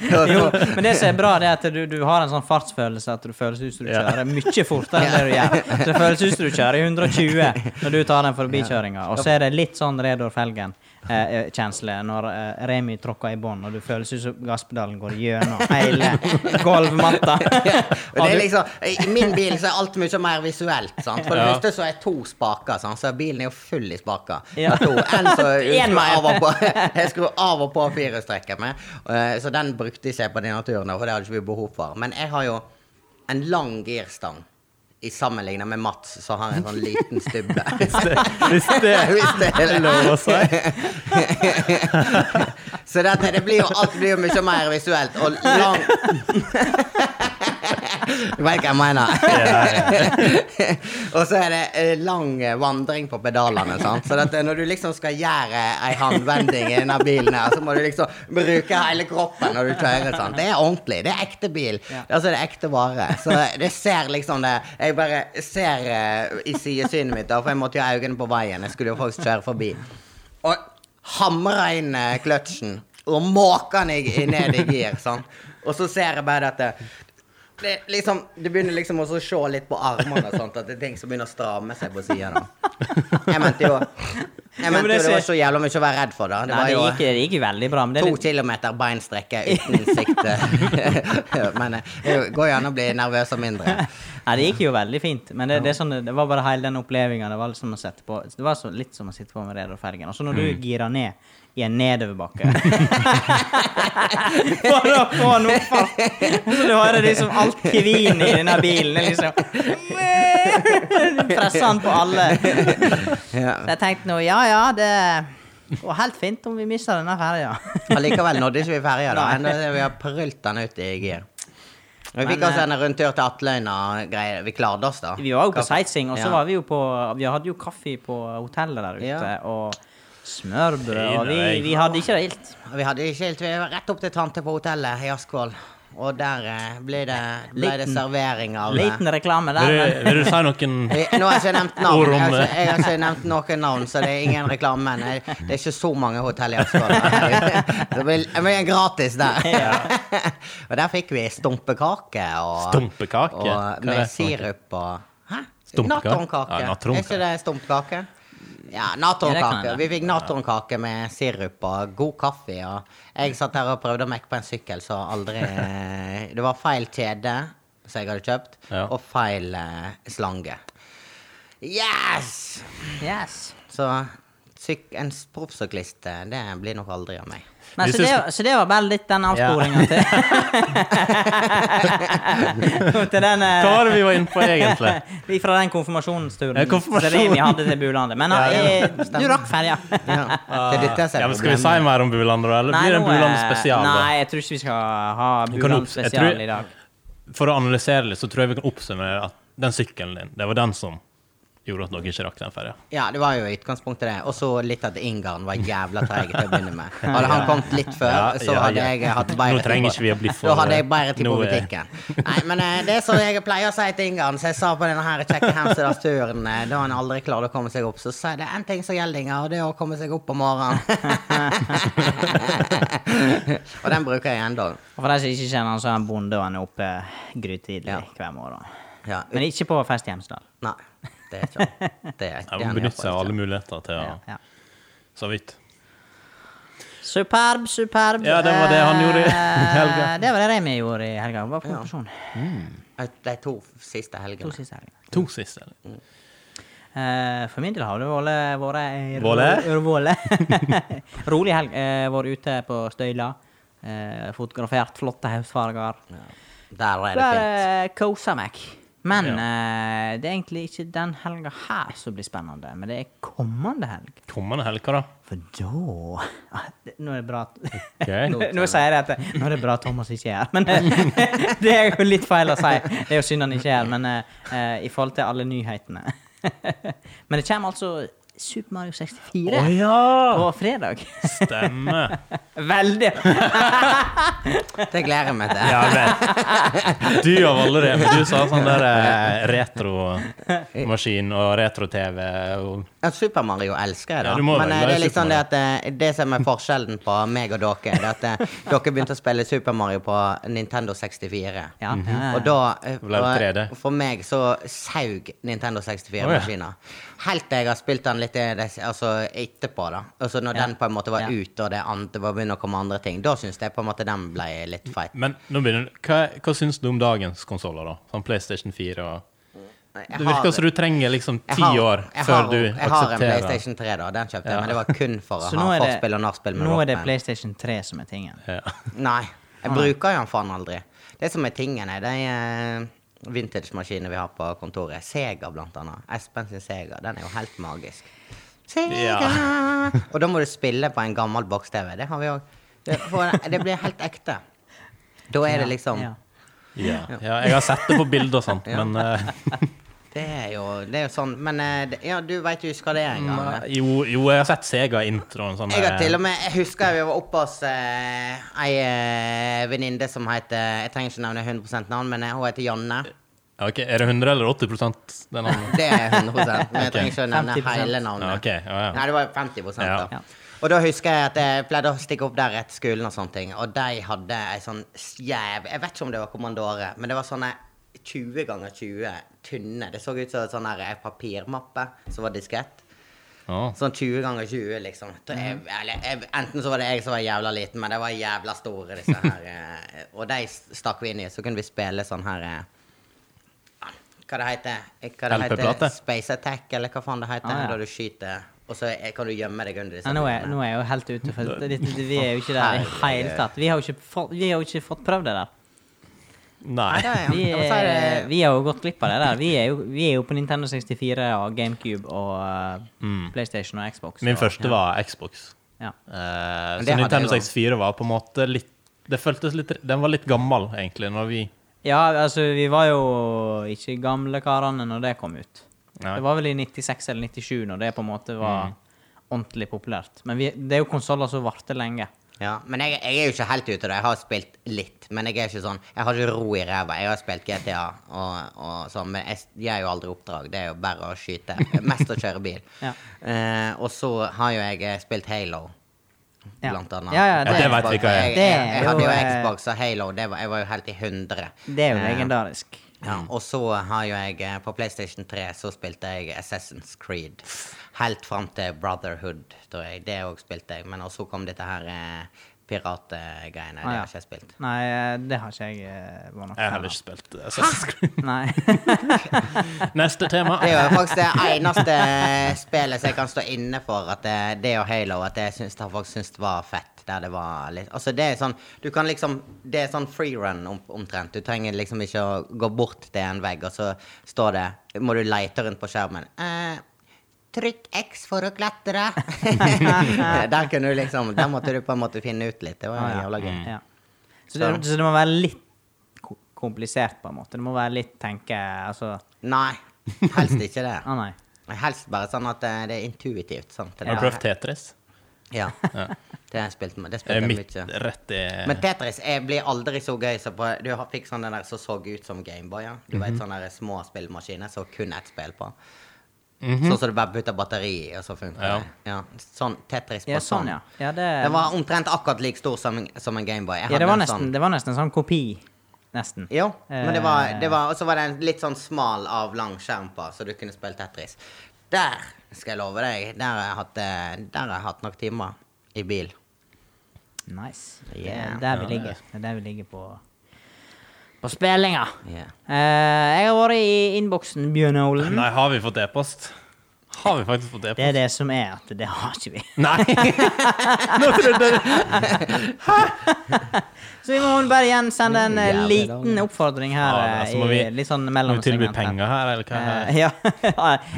S3: Så-
S2: Jo,
S3: så-
S2: men det som er bra, det er at du, du har en sånn fartsfølelse at du føles ut som du
S1: Ja.
S2: kjører mye fortere enn det du gjør. Så det føles ut som du kjører i 120 når du tar den forbikjøringa. Og så er det litt sånn Redor Felgen-kjensle når eh, Remi tråkker i bånn, og du føles ut som gasspedalen går gjennom hele gulvmatta.
S3: Og det er liksom, I min bil så er alt mye mer visuelt. Sant? For det
S1: Ja.
S3: første så er to spaker, sant? så bilen er jo full i spaker.
S2: Ja.
S3: Ja. To. En som jeg
S2: En
S3: skrur
S2: mer.
S3: av og på, jeg skrur av og på firehjulstrekken med, eh, så den brukte ikke jeg på de naturene, for det hadde ikke vi behov for. Men jeg har jo en lang girstang. I sammenlignet med Mats, så har jeg en sånn liten stubbe.
S1: Hvis det
S3: Hvis det er
S1: er lov å si.
S3: Så dette, det blir jo alt blir jo mye mer visuelt og lang Du vet hva jeg mener. og så er det eh, lang eh, vandring på pedalene. Sant? Så dette, når du liksom skal gjøre ei håndvending i denne bilen, her, så må du liksom bruke hele kroppen når du kjører. Sant? Det er ordentlig. Det er ekte bil.
S2: Ja.
S3: Altså, det er ekte vare. Så det ser liksom det Jeg bare ser eh, i sidesynet mitt, da, for jeg måtte jo ha øynene på veien. Jeg skulle jo faktisk kjøre forbi. Og hamrer inn eh, kløtsjen. Og måker den i- i- ned i gir. Sant? Og så ser jeg bare dette det, liksom, du begynner liksom også å se litt på armene og sånt, at det er ting som begynner å stramme seg på siden da. Jeg mente jo Jeg
S2: men
S3: mente
S2: det
S3: jo det var
S2: ser-
S3: så jævla mye å være redd for, da. Det
S2: Nei,
S3: var
S2: det
S3: jo
S2: gikk, det gikk jo veldig bra, men det er
S3: to
S2: litt
S3: kilometer beinstrekke uten innsikt. Men eh, det går jo an å bli nervøs og mindre.
S2: Nei, det gikk jo veldig fint, men det, det, er sånn, det var bare hele den opplevelsen. Det var, liksom å sette på, det var så, litt som å sitte på med Reidar-fergen. Og så når du girer ned i en nedoverbakke For å få noe fart! Så du hører liksom alt kvinet i denne bilen. det er Liksom Du presser han på alle.
S3: Ja.
S2: Så jeg tenkte nå, ja ja, det går helt fint om vi mister denne ferja.
S3: Allikevel nådde ikke vi ferja, da.
S2: Nei.
S3: Enda vi har prølt den ut i gir. Vi
S2: Men,
S3: fikk oss
S2: eh,
S3: en rundtur til Atløyna og greier. Vi klarte oss, da.
S2: Vi var jo på sightseeing, og så
S3: Ja.
S2: var vi jo på Vi hadde jo kaffe på hotellet der ute,
S3: Ja.
S2: og smørbrød, og vi,
S1: Nei, nei.
S2: vi hadde ikke det gildt.
S3: Vi hadde ikke helt, vi var rett opp til tante på hotellet i Askvoll. Og der eh, ble det, ble det
S2: Liten-
S3: servering av eh,
S2: Liten reklame der,
S1: Vil du,
S2: men
S1: vil du si noen
S3: Eh, Nå har jeg ikke nevnt navn.
S1: Ord om,
S3: Jeg har
S1: eh.
S3: ikke, jeg har ikke nevnt noen navn, så det er ingen reklame. Men jeg- det er ikke så mange hotell i Askvoll. Det blir det blir gratis der. Og der fikk vi stumpekake. Og,
S1: Stumpekake? Hva er
S3: Og
S1: det for
S3: med
S1: noe?
S3: sirup og Hæ?
S1: Stumpekake?
S3: Natronkake.
S1: Ja,
S3: er
S1: natronkake.
S3: ikke det stumpkake? Ja,
S2: Ja, det kan
S3: natronkake.
S2: hende.
S3: Vi fikk natronkake med sirup og god kaffe. Og jeg satt her og prøvde å mekke på en sykkel, så aldri eh, Det var feil kjede som jeg hadde kjøpt,
S1: Ja.
S3: og feil eh, slange. Yes!
S2: yes.
S3: Så syk, en proffsyklist, eh, det blir nok aldri av meg.
S2: Nei,
S1: Hvis
S2: så,
S1: du
S2: det,
S1: skal-
S2: så det var bare litt den avsporinga til Til den eh,
S1: Hva var det vi var inne på, egentlig?
S2: Fra den konfirmasjonsturen
S1: Ja, konfirmasjon.
S2: som vi hadde til Bulandet. Men
S1: Ja, ja.
S2: eh, du rakk ferja.
S3: Ja. Det er dette som
S1: Ja,
S3: er
S1: men skal vi si
S3: problemet.
S1: mer om Buland, da? Eller blir det en
S2: nå, eh,
S1: Buland spesial? da?
S2: Nei, jeg tror ikke vi skal ha
S1: Vi kan
S2: Buland
S1: opps- jeg
S2: spesial
S1: tror-
S2: i dag.
S1: For å analysere litt, så tror jeg vi kan oppsummere at den sykkelen din, det var den som gjorde at dere ikke rakk den ferja.
S3: Ja, det var jo i utgangspunktet det. Og så litt at Ingarden var jævla treig til å begynne med. Hadde han kommet litt før,
S1: Ja,
S3: så
S1: ja,
S3: hadde
S1: ja.
S3: jeg hatt bedre
S1: Nå trenger
S3: tid
S1: ikke vi å bli for-
S3: Da hadde jeg bedre tid på
S1: Nå er-
S3: butikken. Nei, men eh, det er som jeg pleier å si til Ingarden, som jeg sa på denne her kjekke Hamsterdalsturen, eh, da han aldri klarte å komme seg opp, så sa jeg det er én ting som gjelder Ingar, og det er å komme seg opp om morgenen. og den bruker jeg ennå.
S2: Og for de som ikke kjenner han, så er han bonde, og han er oppe grytidlig
S3: Ja.
S2: hver morgen.
S3: Ja,
S2: Men ikke på fest i Hemsedal.
S3: nei, det er ikke han. Det er
S1: Jeg må
S3: han
S1: benytte seg av
S3: iallfall
S1: alle
S3: ikke.
S1: muligheter til å
S2: Ja. Ja.
S1: så vidt.
S2: Superb, superb.
S1: Ja, det var det han gjorde i
S2: Eh,
S1: helga.
S2: Det var det Remi gjorde i helga. Var på operasjon
S3: De to siste
S2: to
S3: helgene.
S2: siste helger.
S1: To siste. eller?
S2: Eh, for min del har det vært- vært ei ro-
S1: Våle?
S2: ro- Våle. Rolig helg. Eh, vært ute på Støyla. Eh, fotografert flotte høstfarger.
S3: Ja. Der er det fint.
S2: Bare kosa meg. Men eh, det er egentlig ikke den helga her som blir spennende, men det er kommende helg.
S1: Kommende helg, hva da?
S2: For da Ah, det- Nå er det bra at
S1: Ok.
S2: nå, nå sier jeg at Nå er det bra at Thomas ikke er her, men eh, det er jo litt feil å si. Det er jo synd han ikke er her, men eh, eh, i forhold til alle nyhetene Men det kommer altså Super Mario 64
S1: Å ja!
S2: på fredag.
S1: Stemmer.
S2: Veldig!
S3: Det gleder jeg meg til.
S1: Ja, men Du av alle det. men Du sa sånn der eh, retromaskin og retro-TV og
S3: Ja, Super Mario elsker jeg, da.
S1: Ja, du må
S3: men
S1: vel
S3: eh,
S1: være
S3: det er litt
S1: Super
S3: sånn det at eh, det som er forskjellen på meg og dere, er at eh, dere begynte å spille Super Mario på Nintendo 64.
S2: Ja, ja.
S3: Og da eh,
S1: Det ble jo 3D.
S3: og For meg så saug Nintendo
S1: Å, ja.
S3: 64-maskiner. Helt til jeg har spilt den litt eh, des- altså, etterpå, da. Altså når
S2: Ja.
S3: den på en måte var
S2: Ja.
S3: ute, og det, andre, det var begynner å komme andre ting. Da syns jeg på en måte den ble litt feit.
S1: Men nå begynner du. Hva, hva syns du om dagens konsoller, da? Sånn PlayStation 4 og
S3: Jeg
S1: Det
S3: har-
S1: virker som du trenger liksom
S3: jeg
S1: ti
S3: har-
S1: år
S3: jeg
S1: før
S3: har-
S1: du
S3: Jeg har en
S1: aksepterer
S3: PlayStation 3, da. Den kjøpte jeg,
S1: Ja.
S3: men det var kun for å
S2: Så
S3: ha
S2: nå er
S3: forspill og
S2: det,
S3: nachspiel med
S2: nå er det
S3: Rockband.
S2: PlayStation 3 som er tingen.
S1: Ja.
S3: Nei. Jeg bruker jo den faen aldri. Det som er tingen, er de eh, vintage-maskinene vi har på kontoret. Sega, blant annet. Espen sin Sega. Den er jo helt magisk. Sega! Og da må du spille på en gammel boks-TV. Det har vi òg. Det, for det blir helt ekte. Da er det liksom
S2: Ja.
S1: Ja. ja, jeg har sett det på bilder og sånt, men eh,
S3: Det er jo, det er jo sånn Men eh, det, ja, du veit jo hva det er en
S2: Mm,
S3: gang.
S1: jo, jo, jeg har sett Sega-introen. Sånn,
S3: Jeg har
S1: eh,
S3: til og med, jeg husker vi var oppe hos eh, ei eh, venninne som heter Jeg trenger ikke nevne 100 navn, men eh, hun heter Janne.
S1: eh, ok, Er det 100 eller 80 den andre?
S3: Det er 100 men jeg trenger ikke å nevne
S2: 50%.
S3: hele
S1: Ja,
S3: navnet.
S1: ok, ja, ja.
S3: Nei, det var 50
S1: Ja.
S3: da. Og da husker jeg at jeg pleide å stikke opp der etter skolen, og sånne ting, og de hadde ei sånn jæv... Jeg vet ikke om det var Kommandore, men det var sånne 20 ganger 20 tynne. Det så ut som en sånn her, eh, papirmappe som var diskett.
S1: Ja.
S3: Sånn 20 ganger 20, liksom. Da Jeg, eller, jeg, enten så var det jeg som var jævla liten, men det var jævla store, disse her. eh, og de stakk vi inn i, så kunne vi spille sånn her eh, ah, Hva det heter eh, hva det?
S1: LP-plate?
S3: heter Space Attack, eller hva faen det heter?
S2: Ah, ja.
S3: Da du skyter, og så eh, kan du gjemme deg under disse
S2: Ja, nå, er,
S3: tingene.
S2: nå er jeg jo helt ute, for det, det, det, vi er jo ikke der i det hele tatt. Vi har jo ikke, fått- vi har jo ikke fått prøvd det der.
S1: Nei.
S3: Ja, ja.
S2: Vi,
S3: Ja, men så er
S2: er,
S3: det-
S2: vi har jo gått glipp av det der. Vi er jo, vi er jo på Nintendo 64 og GameCube og eh, PlayStation og Xbox.
S1: Mm. Min
S2: og,
S1: første var Xbox.
S2: Ja.
S1: Eh,
S3: det
S1: så
S3: hadde
S1: Nintendo
S3: jeg også.
S1: 64 var på en måte litt Det føltes litt Den var litt gammel, egentlig, når vi
S2: ja, altså, vi var jo ikke gamle karene når det kom ut.
S1: Nei. Mm.
S2: Det var vel i 96 eller 97 når det på en måte var ordentlig populært. Men vi, det er jo konsoller som varte lenge.
S3: Ja, men jeg, jeg er jo ikke helt ute da. Jeg har spilt litt, men jeg er ikke sånn Jeg har ikke ro i ræva. Jeg har spilt GTA og, og sånn, men jeg gjør jo aldri oppdrag. Det er jo bare å skyte. Mest å kjøre bil.
S2: Ja.
S3: Eh, og så har jo jeg eh, spilt Halo.
S2: Ja.
S3: Blant annet.
S2: Ja, ja,
S1: Ja, det vet
S3: Xbox-
S1: vi hva er.
S3: Jeg,
S2: Det
S3: jeg,
S2: er
S3: jeg hadde
S2: jo,
S3: jo
S2: eh,
S3: Xbox og Halo. Det var, jeg var jo helt i 100.
S2: Det er jo
S3: Eh,
S2: legendarisk.
S3: ja, og så har jo jeg eh, På PlayStation 3 så spilte jeg Assassin's Creed. Helt fram til Brotherhood, tror jeg. Det òg spilte jeg. Men og så kom dette her eh, piratgreiene.
S2: Ah, ja.
S3: Det har ikke jeg spilt.
S2: Nei, eh, det har ikke jeg eh, vært noe
S1: Jeg har heller ikke spilt eh, Assassin's Creed.
S2: Nei.
S1: Neste tema.
S3: Det er jo faktisk det eneste spillet som jeg kan stå inne for, at det, det og Halo at jeg syns folk syns det var fett. Der det var litt Altså, det er sånn Du kan liksom Det er sånn freerun om, omtrent. Du trenger liksom ikke å gå bort til en vegg, og så står det Må du leite rundt på skjermen. Eh, Trykk X for å klatre. der kunne du liksom Der måtte du på en måte finne ut litt. Det var jo jævla gøy.
S2: Ah, Ja. Mm. Så, det, så det må være litt ko- komplisert, på en måte. Det må være litt tenke Altså,
S3: Nei, helst ikke det.
S2: ah, nei.
S3: Helst bare sånn at eh, det er intuitivt. Sant? Det
S1: Har du
S3: der-
S1: prøvd Tetris?
S3: Ja.
S1: Ja.
S3: Det har jeg spilt med. Det
S1: Det
S3: spilte
S1: er
S3: jeg
S1: midt
S3: mye.
S1: rett i
S3: Men Tetris jeg blir aldri så gøy som på Du har- fikk sånn den der som så ut som Gameboy. Ja. Du
S2: Mhm.
S3: vet sånne der små spillmaskiner som kun ett spill på.
S2: Mhm.
S3: Sånn som du bare putter batteri i, og så funker
S1: Ja.
S3: det. Ja. Sånn Tetris på
S2: Ja,
S3: sånn.
S2: sånn, ja. ja det,
S3: Den var omtrent akkurat like stor som, en- som en Gameboy. Jeg
S2: ja, det,
S3: hadde
S2: var
S3: en
S2: nesten,
S3: sånn.
S2: det var nesten en sånn kopi. Nesten.
S3: Jo, men det var,
S2: Eh.
S3: det var Og så var det en litt sånn smal, avlang skjerm på, så du kunne spille Tetris. Der skal jeg love deg, der har jeg hatt, eh, der har jeg hatt nok timer i bil.
S2: Nice. Det
S3: Yeah.
S2: er der vi
S1: Ja,
S2: ligger.
S1: det
S2: Det er der vi ligger på På spillinga.
S3: Yeah.
S2: Eh, jeg har vært i innboksen, Bjørn Olen.
S1: Nei, har vi fått e-post? Har vi faktisk fått
S2: Det er
S1: e-post?
S2: det som er at det har ikke vi.
S1: Nei! Nå trodde jeg
S2: Så vi må bare igjen sende en eh,
S3: Jævlig
S2: liten
S3: dårlig.
S2: oppfordring her.
S1: Ja, men altså, må
S2: eh, i,
S1: vi-
S2: litt sånn
S1: Må vi tilby
S2: mellomsegmentet.
S1: penger her, eller hva?
S2: Eh, ja.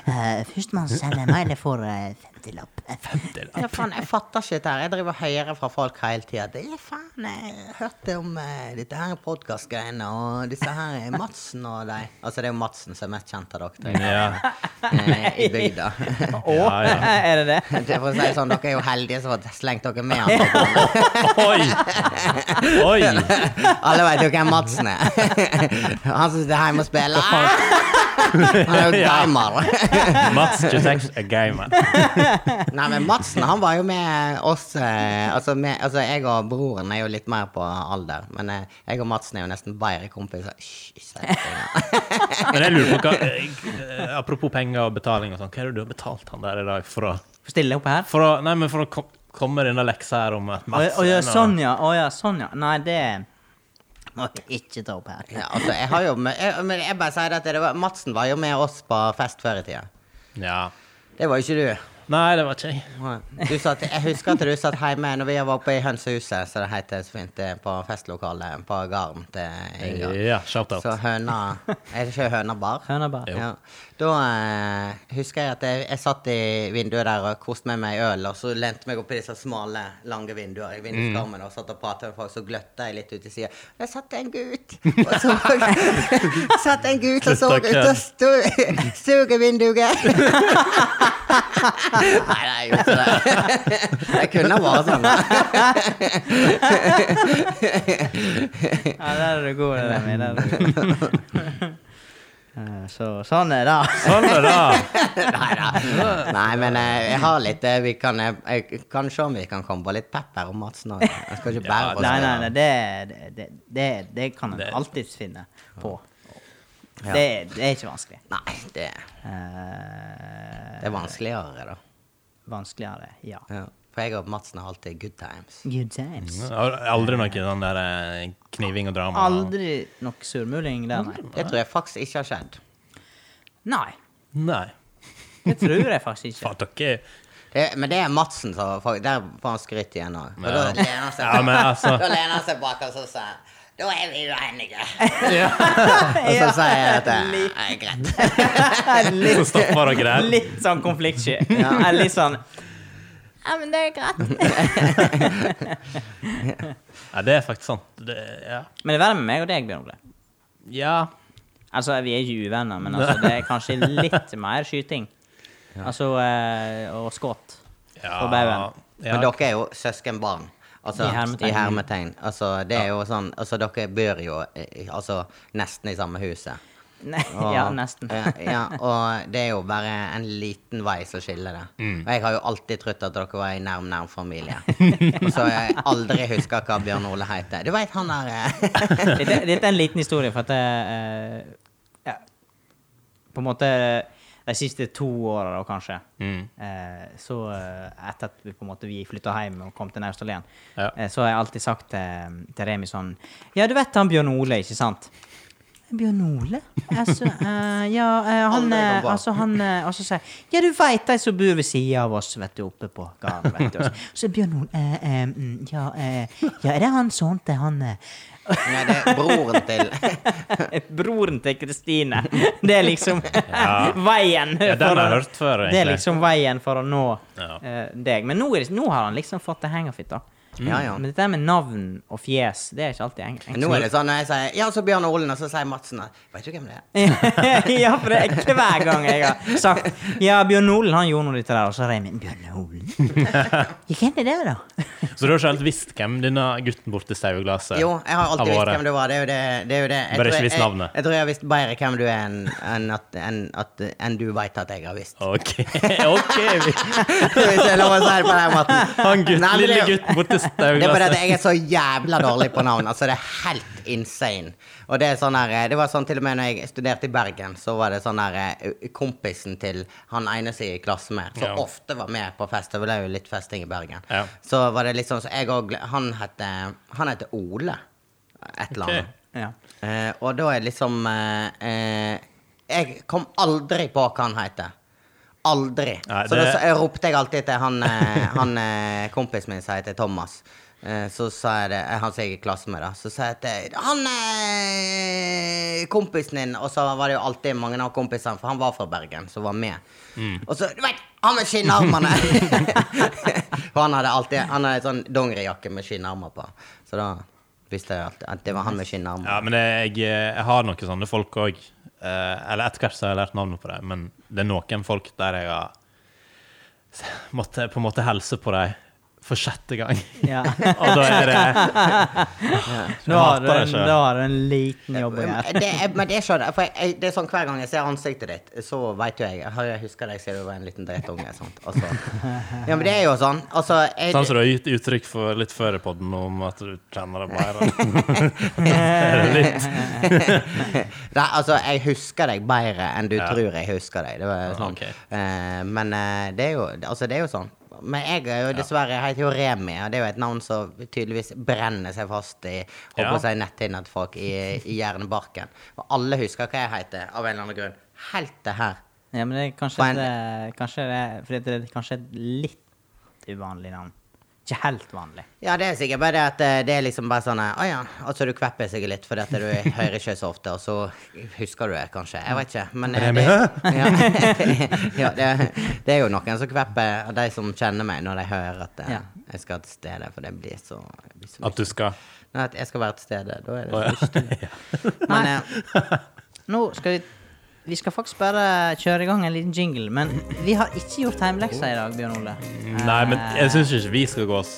S2: Eh, Førstemann som sender meg, det får eh, 50-lapp.
S1: Det er
S3: Ja, faen, jeg fatter ikke dette her. Jeg driver og hører fra folk hele tida. Det er faen, jeg hørte om eh, dette her podkastgreiene og disse her eh, Madsen og de Altså, det er jo Madsen som er mest kjent av dere
S1: da. Ja.
S3: eh, i bygda.
S2: Å,
S1: Ja, ja.
S2: Eh, er det det?
S3: Det får si sånn, Dere er jo heldige som har slengt dere med. altså. han.
S1: Oi! Oi!
S3: Alle vet jo hvem Madsen er. Han som sitter hjemme og spiller. Han er jo
S1: Ja.
S3: gamer.
S1: Mats Jutex er gamer.
S3: Nei, men Madsen han var jo med oss eh, altså, med, altså, jeg og broren er jo litt mer på alder, men eh, jeg og Madsen er jo nesten bedre kompiser. Hysj, ikke si det.
S1: Men jeg lurer på hva eh, Apropos penger og betaling og sånn, hva er det du har betalt han der i dag for å,
S2: Få stille opp her?
S1: for å Nei, men for å kom, komme denne leksa her om at
S2: Å
S1: Mats
S2: å, ja,
S1: er noe-
S2: sånn ja. Å ja, sånn ja. Nei, det må vi ikke ta opp her.
S3: Ja, altså, jeg har jo med, jeg, men jeg bare sier dette, det var, Madsen var jo med oss på fest før i tida.
S1: Ja.
S3: Det var jo ikke du.
S1: Nei, det var ikke jeg.
S3: du satt, jeg husker at du satt hjemme når vi var oppe i Hønsehuset, som det heter så fint, eh, på festlokalet på Garden til Ingar.
S1: Ja, shout-out.
S3: Så høna Er det ikke høna bar?
S2: Høna bar.
S1: Jo.
S3: Ja. Da eh, husker jeg at jeg, jeg satt i vinduet der og koste meg med øl, og så lente meg opp i disse smale, lange vinduene i vinduskarmen og satt og pratet med folk, så gløtta jeg litt ut til sida. Der satt en gutt! Og så satt en gutt og så
S1: Slutta
S3: ut og sto stod i vinduet. Nei, nei, jeg gjorde ikke det. Jeg kunne ha vært sånn. da.
S2: Ja, der er du god, det der. Der er du god. Eh, Så sånn er det.
S1: Sånn er det.
S3: Nei, men eh, jeg har litt eh, Vi kan, eh, jeg kan se om vi kan komme på litt pepper og Madsen òg. Jeg skal ikke
S1: Ja,
S3: bære på
S2: Nei, nei, nei
S3: det.
S2: det, det, det, det kan en
S1: Det-
S2: alltids finne på.
S3: Ja.
S2: Det, det er ikke vanskelig.
S3: Nei, det, det
S2: Eh,
S3: er vanskeligere, da.
S2: vanskeligere, ja.
S3: Ja. For jeg og Madsen har alltid good times.
S2: Good times.
S1: Aldri noe sånn der eh, kniving og drama.
S2: Aldri nok surmuling der, nei.
S3: Det tror jeg faktisk ikke har skjedd.
S2: Nei,
S1: Nei.
S2: det tror jeg faktisk ikke.
S1: Faen, dere
S3: Det, men det er Madsen som fa- Der får han skryt igjen òg. Og da
S1: Ja.
S3: lener han seg,
S1: Ja, men altså.
S3: da lener han seg bak oss og så sier han, Da er vi uenige. Og så
S2: Ja,
S3: sier jeg at det
S2: litt-
S3: er greit.
S1: Så stopper dere der.
S2: Litt sånn konfliktsky. Eller Litt sånn Ja, men det er greit.
S1: Ja, det er faktisk sant. Det, ja.
S2: Men det er verre med meg og deg, Bjørn Ole.
S1: ja.
S2: Altså, vi er ikke uvenner, men altså, det er kanskje litt mer skyting. Altså, eh, og skudd.
S1: ja.
S2: På baugen.
S1: Ja.
S3: Men dere er jo søskenbarn. Altså,
S2: I hermetegn.
S3: I hermetegn. Altså, det er jo sånn Altså, dere bor jo eh, altså, nesten i samme huset.
S2: Nei,
S3: Og-
S2: Ja, nesten.
S3: ja, eh, ja, og det er jo bare en liten vei som skiller det.
S1: Mm.
S3: Og jeg har jo alltid trodd at dere var i nærm, nærm familie. Og så har jeg aldri husker hva Bjørn Ole heter. Du veit han der eh,
S2: Dette, dette er en liten historie, for at eh, ja, På en måte de siste to åra, da, kanskje,
S1: Mm.
S2: eh, så eh, etter at vi på en måte vi flytta hjem og kom til Naustdal igjen,
S1: Ja.
S2: eh, så har jeg alltid sagt til, til Remi sånn Ja, du vet han Bjørn Ole, ikke sant? Bjørn Ole? Altså, eh, ja, eh, han,
S3: Aldri
S2: eh,
S3: kan bare.
S2: altså, han eh, Og så sier jeg, Ja, du veit de som bor ved sida av oss, vet du, oppe på gården, vet du. Så Bjørn Ole eh, eh, mm, ja, eh, ja, er det han sånn til han eh,
S3: Nei, det er broren til
S2: Broren til Kristine. Det er liksom veien.
S1: Ja, den
S2: for
S1: har jeg
S2: å-
S1: hørt før,
S2: Det er
S1: egentlig.
S2: liksom veien for å nå
S1: Ja.
S2: eh, deg. Men nå, er det, nå har han liksom fått det hang of it, da.
S3: Mm. Ja, ja.
S2: Men dette her med navn og fjes, det er ikke alltid eng- enkelt.
S3: Nå er det sånn når jeg sier Ja, så Bjørn Olen, og så sier Madsen at Veit du hvem det er?
S2: ja, for det er hver gang jeg har sagt Ja, Bjørn Olen han gjorde noe av dette der, og så har jeg min Bjørn Olen. Ja, Hvem er det, da?
S1: Så du har ikke helt visst hvem denne gutten borti stauglasset
S3: Jo, jeg har alltid visst
S1: vært?
S3: hvem du var. Det er jo det. det, er jo det. Jeg,
S1: Bare
S3: tror
S1: ikke
S3: jeg-
S1: visst navnet.
S3: Jeg, jeg tror jeg har visst bedre hvem du er enn enn at, enn at, enn du veit at jeg har visst.
S1: OK. ok
S3: Hvis jeg lover å si det på den måten.
S1: Han gutt,
S3: Nei, men det-
S1: lille gutten borti
S3: Det er bare at
S1: stauglasset.
S3: jeg er så jævla dårlig på navn. Altså, det er helt insane. Og det er sånn her eh, Det var sånn til og med når jeg studerte i Bergen, så var det sånn her eh, Kompisen til han eneste i klassen med, som
S1: Ja.
S3: ofte var med på fest, det ble jo litt festing i Bergen,
S1: Ja.
S3: så var det litt sånn så jeg òg Han heter Han heter Ole. Et eller annet.
S1: Ok.
S2: Ja.
S3: Eh, og da er liksom eh, eh, Jeg kom aldri på hva han heter. Aldri.
S1: Nei,
S3: Så da
S1: det-
S3: sa- jeg ropte jeg alltid til han, eh, han eh, kompisen min som heter Thomas. Eh, så sa jeg det, eh, han som jeg er i klasse med, da. Så sa jeg til han eh, kompisen din Og så var det jo alltid mange av kompisene, for han var fra Bergen, som var med.
S1: Mm.
S3: Og så Du vet, han med skinnarmene! For han hadde alltid Han hadde sånn dongerijakke med skinnarmer på. Så da visste jeg alltid at det var han med skinnarmer.
S1: Ja, men jeg, jeg har noen sånne folk òg. Eller etter hvert så har jeg lært navnet på dem, men det er noen folk der jeg har måtte på en måte hilse på dem for sjette gang.
S2: ja.
S1: Og da er det
S2: Da har du
S1: hater det
S2: en,
S1: selv.
S2: da har du en liten jobb å gjøre.
S3: Men Det, er- men det skjønner jeg, for jeg- jeg. Det er sånn Hver gang jeg ser ansiktet ditt, så vet jo jeg jeg har- Jeg husker deg siden du var en liten drittunge. sant? Altså, ja, men det er jo sånn. Altså, jeg,
S1: Sånn som du har gitt uttrykk for litt før i podden om at du kjenner det bedre. Det er litt.
S3: Nei, altså, jeg husker deg bedre enn du
S1: Ja.
S3: tror jeg husker deg. Det var sånn.
S1: ok.
S3: Eh, men eh, det, er jo, altså, det er jo sånn. Men jeg er jo dessverre jeg heter jo Remi, og det er jo et navn som tydeligvis brenner seg fast i håper
S1: Ja.
S3: å si netthinnen til folk i, i hjernebarken. Og alle husker hva jeg heter, av en eller annen grunn. Helt det her.
S2: Ja, men det er kanskje,
S3: På en-
S2: et, eh, kanskje det, fordi det er kanskje et litt uvanlig navn. Ikke helt vanlig.
S3: Ja, det er sikkert bare det at eh, det er liksom bare sånn eh, Å ja. Altså, du kvepper sikkert litt fordi at du hører ikke så ofte, og så husker du det kanskje. Jeg vet ikke. Men eh,
S1: Er det
S3: det,
S1: med?
S3: ja, ja, det, det er jo noen som kvepper, og de som kjenner meg, når de hører at eh,
S2: Ja.
S3: jeg skal til stede, for det blir så, det blir så
S1: At du skal
S3: Nei, at jeg skal være til stede. Da er
S1: Å,
S3: det så
S1: ja.
S3: kostelig. Men eh,
S2: Nå skal vi Vi skal faktisk bare kjøre i gang en liten jingle, men vi har ikke gjort hjemmeleksa i dag, Bjørn Ole.
S1: Nei, men jeg syns ikke vi skal gå oss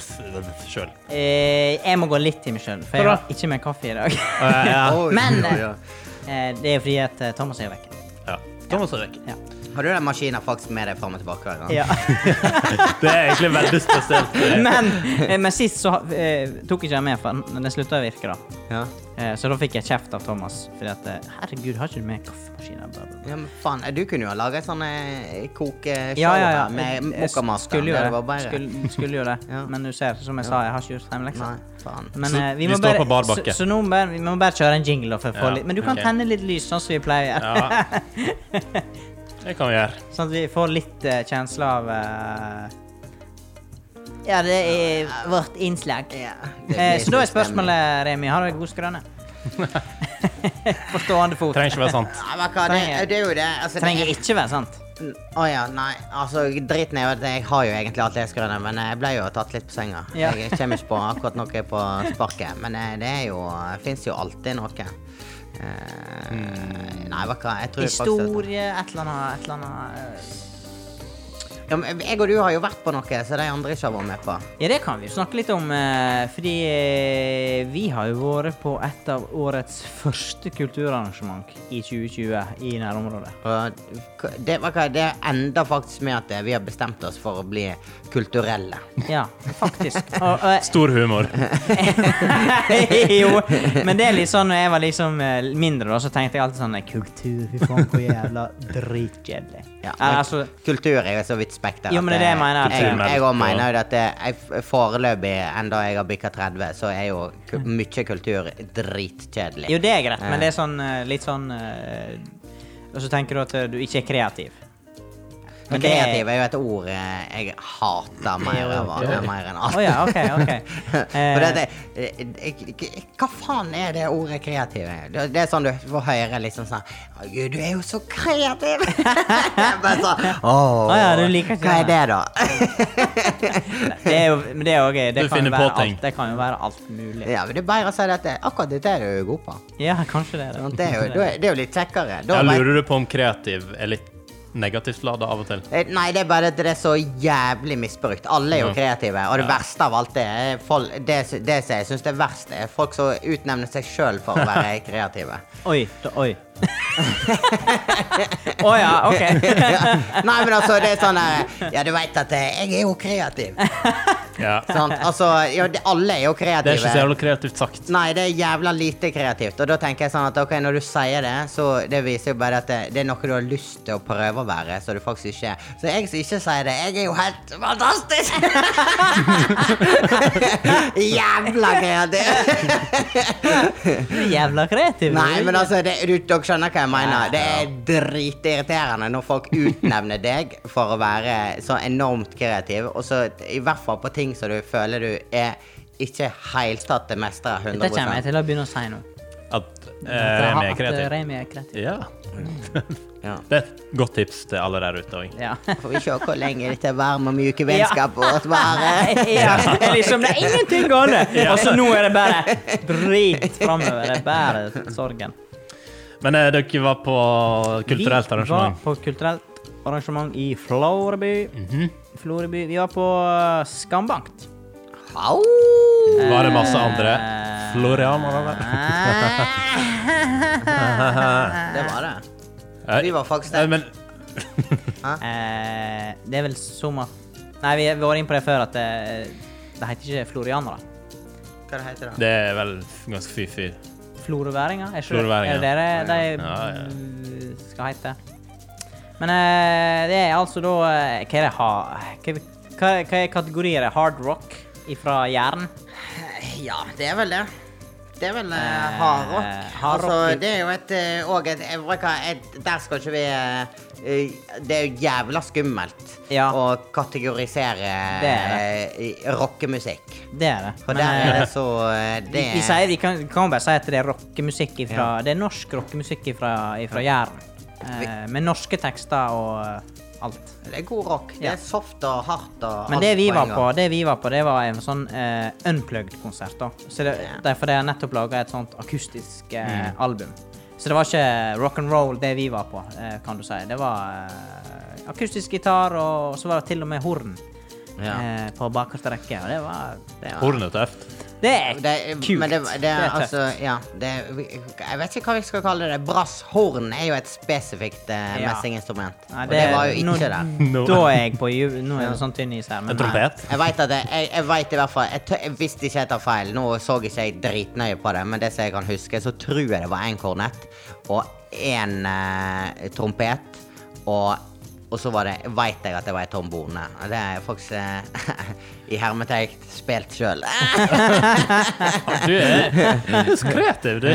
S1: sjøl.
S2: Eh, jeg må gå litt i meg sjøl, for jeg
S1: Bra.
S2: har ikke med kaffe i dag.
S1: Ja.
S3: oi,
S2: Men
S3: oi, oi.
S2: eh, det er jo fordi at eh, Thomas er jo vekke.
S1: ja. Thomas er vekk.
S2: Ja.
S3: Har du den maskinen faktisk med deg fram og tilbake? hver gang?
S2: Ja.
S1: Det er egentlig veldig spesielt.
S2: men, eh, men sist så eh, tok ikke jeg med, for den- den slutta å virke, da.
S3: Ja.
S2: Eh, så da fikk jeg kjeft av Thomas. Fordi at eh, Herregud, har ikke du med kaffemaskiner? Bla, bla, bla.
S3: Ja, men faen, eh, Du kunne jo ha laga sånn eh, kokeshow
S2: Ja, ja, ja.
S3: her med
S2: Jeg
S3: mokkamaster.
S2: Skulle jo
S3: Det var
S2: det.
S3: bare
S2: Skulle, skulle jo det.
S3: Ja.
S2: Men du ser, som jeg sa, jeg har ikke gjort hjemmeleksa.
S3: Nei, faen.
S2: Men
S1: Så
S2: eh, vi,
S1: vi
S2: må
S1: står
S2: bare,
S1: på bar bakke.
S2: så, så nå må bare, vi må bare kjøre en jingle. da, For å få
S1: Ja,
S2: litt, men du kan
S1: ok.
S2: tenne litt lys, sånn som vi pleier.
S1: Ja. Det kan vi gjøre.
S2: Sånn at vi får litt eh, kjensle av eh, Ja, det er vårt innslag.
S3: Ja,
S2: Eh,
S3: det blir
S2: så da er
S3: så
S2: spørsmålet, Remi, har du ei god skrøne? På stående fot.
S1: Trenger ikke være sant.
S3: Nei, men hva, det,
S2: Trenger-
S3: det er jo det. Altså, det
S2: Trenger ikke være sant.
S3: er- Å ja, nei. Altså, driten er jo at jeg har jo egentlig alt jeg skal gjøre, men jeg ble jo tatt litt på senga.
S2: Ja.
S3: Jeg kommer ikke på akkurat noe på sparket, men eh, det er jo Fins jo alltid noe. Eh, Nei, hva, hva jeg tror faktisk
S2: Historie, et eller annet, et eller annet. eh.
S3: at- ja, men Jeg og du har jo vært på noe som de andre ikke har vært med på.
S2: Ja, det kan vi jo snakke litt om, eh, fordi eh, vi har jo vært på et av årets første kulturarrangement i 2020 i nærområdet.
S3: Og hva- det, hva, hva, det ender faktisk med at eh, vi har bestemt oss for å bli kulturelle.
S2: Ja, faktisk. Og, og
S1: Stor humor.
S2: jo, men det er litt sånn når jeg var liksom eh, mindre, da, så tenkte jeg alltid sånn eh, Kultur, fy faen, hvor jævla dritkjedelig.
S3: Ja,
S2: Eh, altså,
S3: Kultur er jo så vidt spekteret.
S2: Jo, men det er det jeg mener, at-
S3: Jeg, jeg også
S1: Kulturmelt,
S3: mener jo at det, jeg f- foreløpig, enda jeg har bikka 30, så er jo ku- mye kultur dritkjedelig.
S2: Mm. jo, det er greit, men det er sånn eh, litt sånn eh, Og så tenker du at eh, du ikke er kreativ.
S3: Men
S2: det er-
S3: kreativ er jo et ord eh, jeg hater mer, av,
S1: jo.
S3: mer enn
S2: Å
S3: alt.
S2: ja, OK, OK. Eh,
S3: For det, at det, eh, eh, k- hva faen er det ordet kreativ? er? Det, det er sånn du får høre liksom sånn Å gud, du er jo så kreativ! Bare sånn, Åh,
S2: Å ja, du liker ikke
S3: hva er det, da?
S2: det er jo men det er jo gøy. Det
S1: Du
S2: kan jo,
S1: finner
S2: være
S1: på ting.
S2: alt, det kan jo være alt mulig.
S3: Ja, men det er bedre å si at det, akkurat dette er du god på.
S2: Ja, kanskje det er det.
S3: Sant? Det er jo, da er- det er jo litt kjekkere. Da
S1: Jeg
S3: vet-
S1: lurer du på om kreativ er litt negativt lada av og til?
S3: Eh, Nei, det er bare at det er så jævlig misbrukt. Alle er jo
S1: Ja.
S3: kreative. Og det
S1: Ja.
S3: verste av alt det er eh, folk, Det, det som jeg syns er verst, er folk som utnevner seg sjøl for å være kreative.
S2: Oi. Da, oi. Å ja, OK.
S3: ja. Nei, men altså, det er sånn eh, Ja, du veit at eh, jeg er jo kreativ.
S1: Ja.
S3: Sant? Altså, ja, det, alle er jo
S1: Det er
S3: kreative.
S1: ikke så jævlig kreativt sagt.
S3: Nei, det er jævla lite kreativt. Og da tenker jeg sånn at ok, når du sier det, så det viser jo bare at det, det er noe du har lyst til å prøve å være, så det faktisk ikke er. Så jeg som ikke sier det, jeg er jo helt fantastisk! jævla kreativ!
S2: Du er jævla kreativ.
S3: Nei, men altså, det, du, dere skjønner hva jeg mener. Det er dritirriterende når folk utnevner deg for å være så enormt kreativ, og så i hvert fall på ting som du føler du er ikke helt tatt det mestrer 100
S2: Dette kommer jeg til å begynne å si nå.
S1: At eh,
S2: At
S1: Remi er
S2: jeg har- at, eh,
S1: kreativ.
S2: Remi er kreativ.
S1: Ja.
S3: Ja.
S1: Det er et godt tips til alle der ute òg.
S2: Ja.
S3: Får vi se hvor lenge dette varme og myke vennskapet vårt varer.
S2: ja, det er liksom, det er ingenting galt. Og så nå er det bare drit framover. Det er bare sorgen.
S1: Men eh, dere var på kulturelt arrangement.
S2: Vi var på kulturelt arrangement i Floreby.
S1: Mhm.
S2: Floreby. Vi var på eh, Skambankt.
S3: Au!
S1: Var det masse andre
S2: Eh,
S1: florianere der?
S2: Ah.
S3: Det var det.
S1: Eh,
S3: Ah. Vi var faktisk
S1: eh,
S3: der.
S1: Men
S2: Eh, det er vel som at Nei, vi vi var inne på det før at det, det heter ikke florianere.
S3: Hva det heter det?
S1: det er vel ganske fy-fy.
S2: Florøværinger? Er, ikke-
S1: Florøværinger.
S2: er det det de
S1: Ja, ja.
S2: mm, skal hete? Men eh, det er altså da eh, Hva er det ha... Hva, hva, hva er kategorier? Hard rock ifra Jæren?
S3: Ja, det er vel det. Det er vel
S2: Eh,
S3: eh, hardrock.
S2: hardrock.
S3: Altså, det er jo et eh, Og et jeg bruker- et- Der skal ikke vi eh, eh, Det er jo jævla skummelt
S2: Ja.
S3: å kategorisere
S2: Det
S3: eh, rockemusikk.
S2: Det er det.
S3: For
S2: Men,
S3: der
S2: eh,
S3: er det så eh, det,
S2: vi, vi, sier, vi kan, kan bare si at det er rockemusikk ifra Det er norsk rockemusikk ifra, ifra Jæren. Eh, med norske tekster og eh, alt.
S3: det er god rock. Det
S2: Ja.
S3: er soft og hardt og
S2: Men
S3: alt
S2: det vi
S3: en
S2: var
S3: gang.
S2: på, det vi var på, det var en sånn eh, unplugged-konsert. da. Så det, Derfor har jeg nettopp laga et sånt akustisk eh,
S3: Mm.
S2: album. Så det var ikke rock and roll det vi var på, eh, kan du si. Det var eh, akustisk gitar, og så var det til og med horn
S3: Ja.
S2: eh, på bakerste rekke. Og det var Det, var,
S1: Hornet er tøft.
S2: det er
S3: det,
S2: kult.
S3: Men det, det,
S2: Det
S3: er
S2: er
S3: altså, ja, det, vi- jeg vet ikke hva vi skal kalle det. Brasshorn er jo et spesifikt eh,
S2: Ja.
S3: messinginstrument.
S2: Nei,
S3: og det var jo
S2: nå-
S3: ikke det.
S1: Nå-
S2: Da er jeg på ju- Nå er det sånn tynn is her.
S1: En
S2: Men
S1: trompet.
S3: Jeg vet at jeg, jeg, jeg vet i hvert fall jeg, tø- jeg visste ikke jeg tar feil. Nå så ikke jeg dritnøye på det, men det som jeg kan huske, så tror jeg det var én kornett og én eh, trompet. Og, og så var det veit jeg at det var ei trombone. Og Det er faktisk eh, i hermetegn spilt sjøl.
S1: Du er, du er så kreativ, du.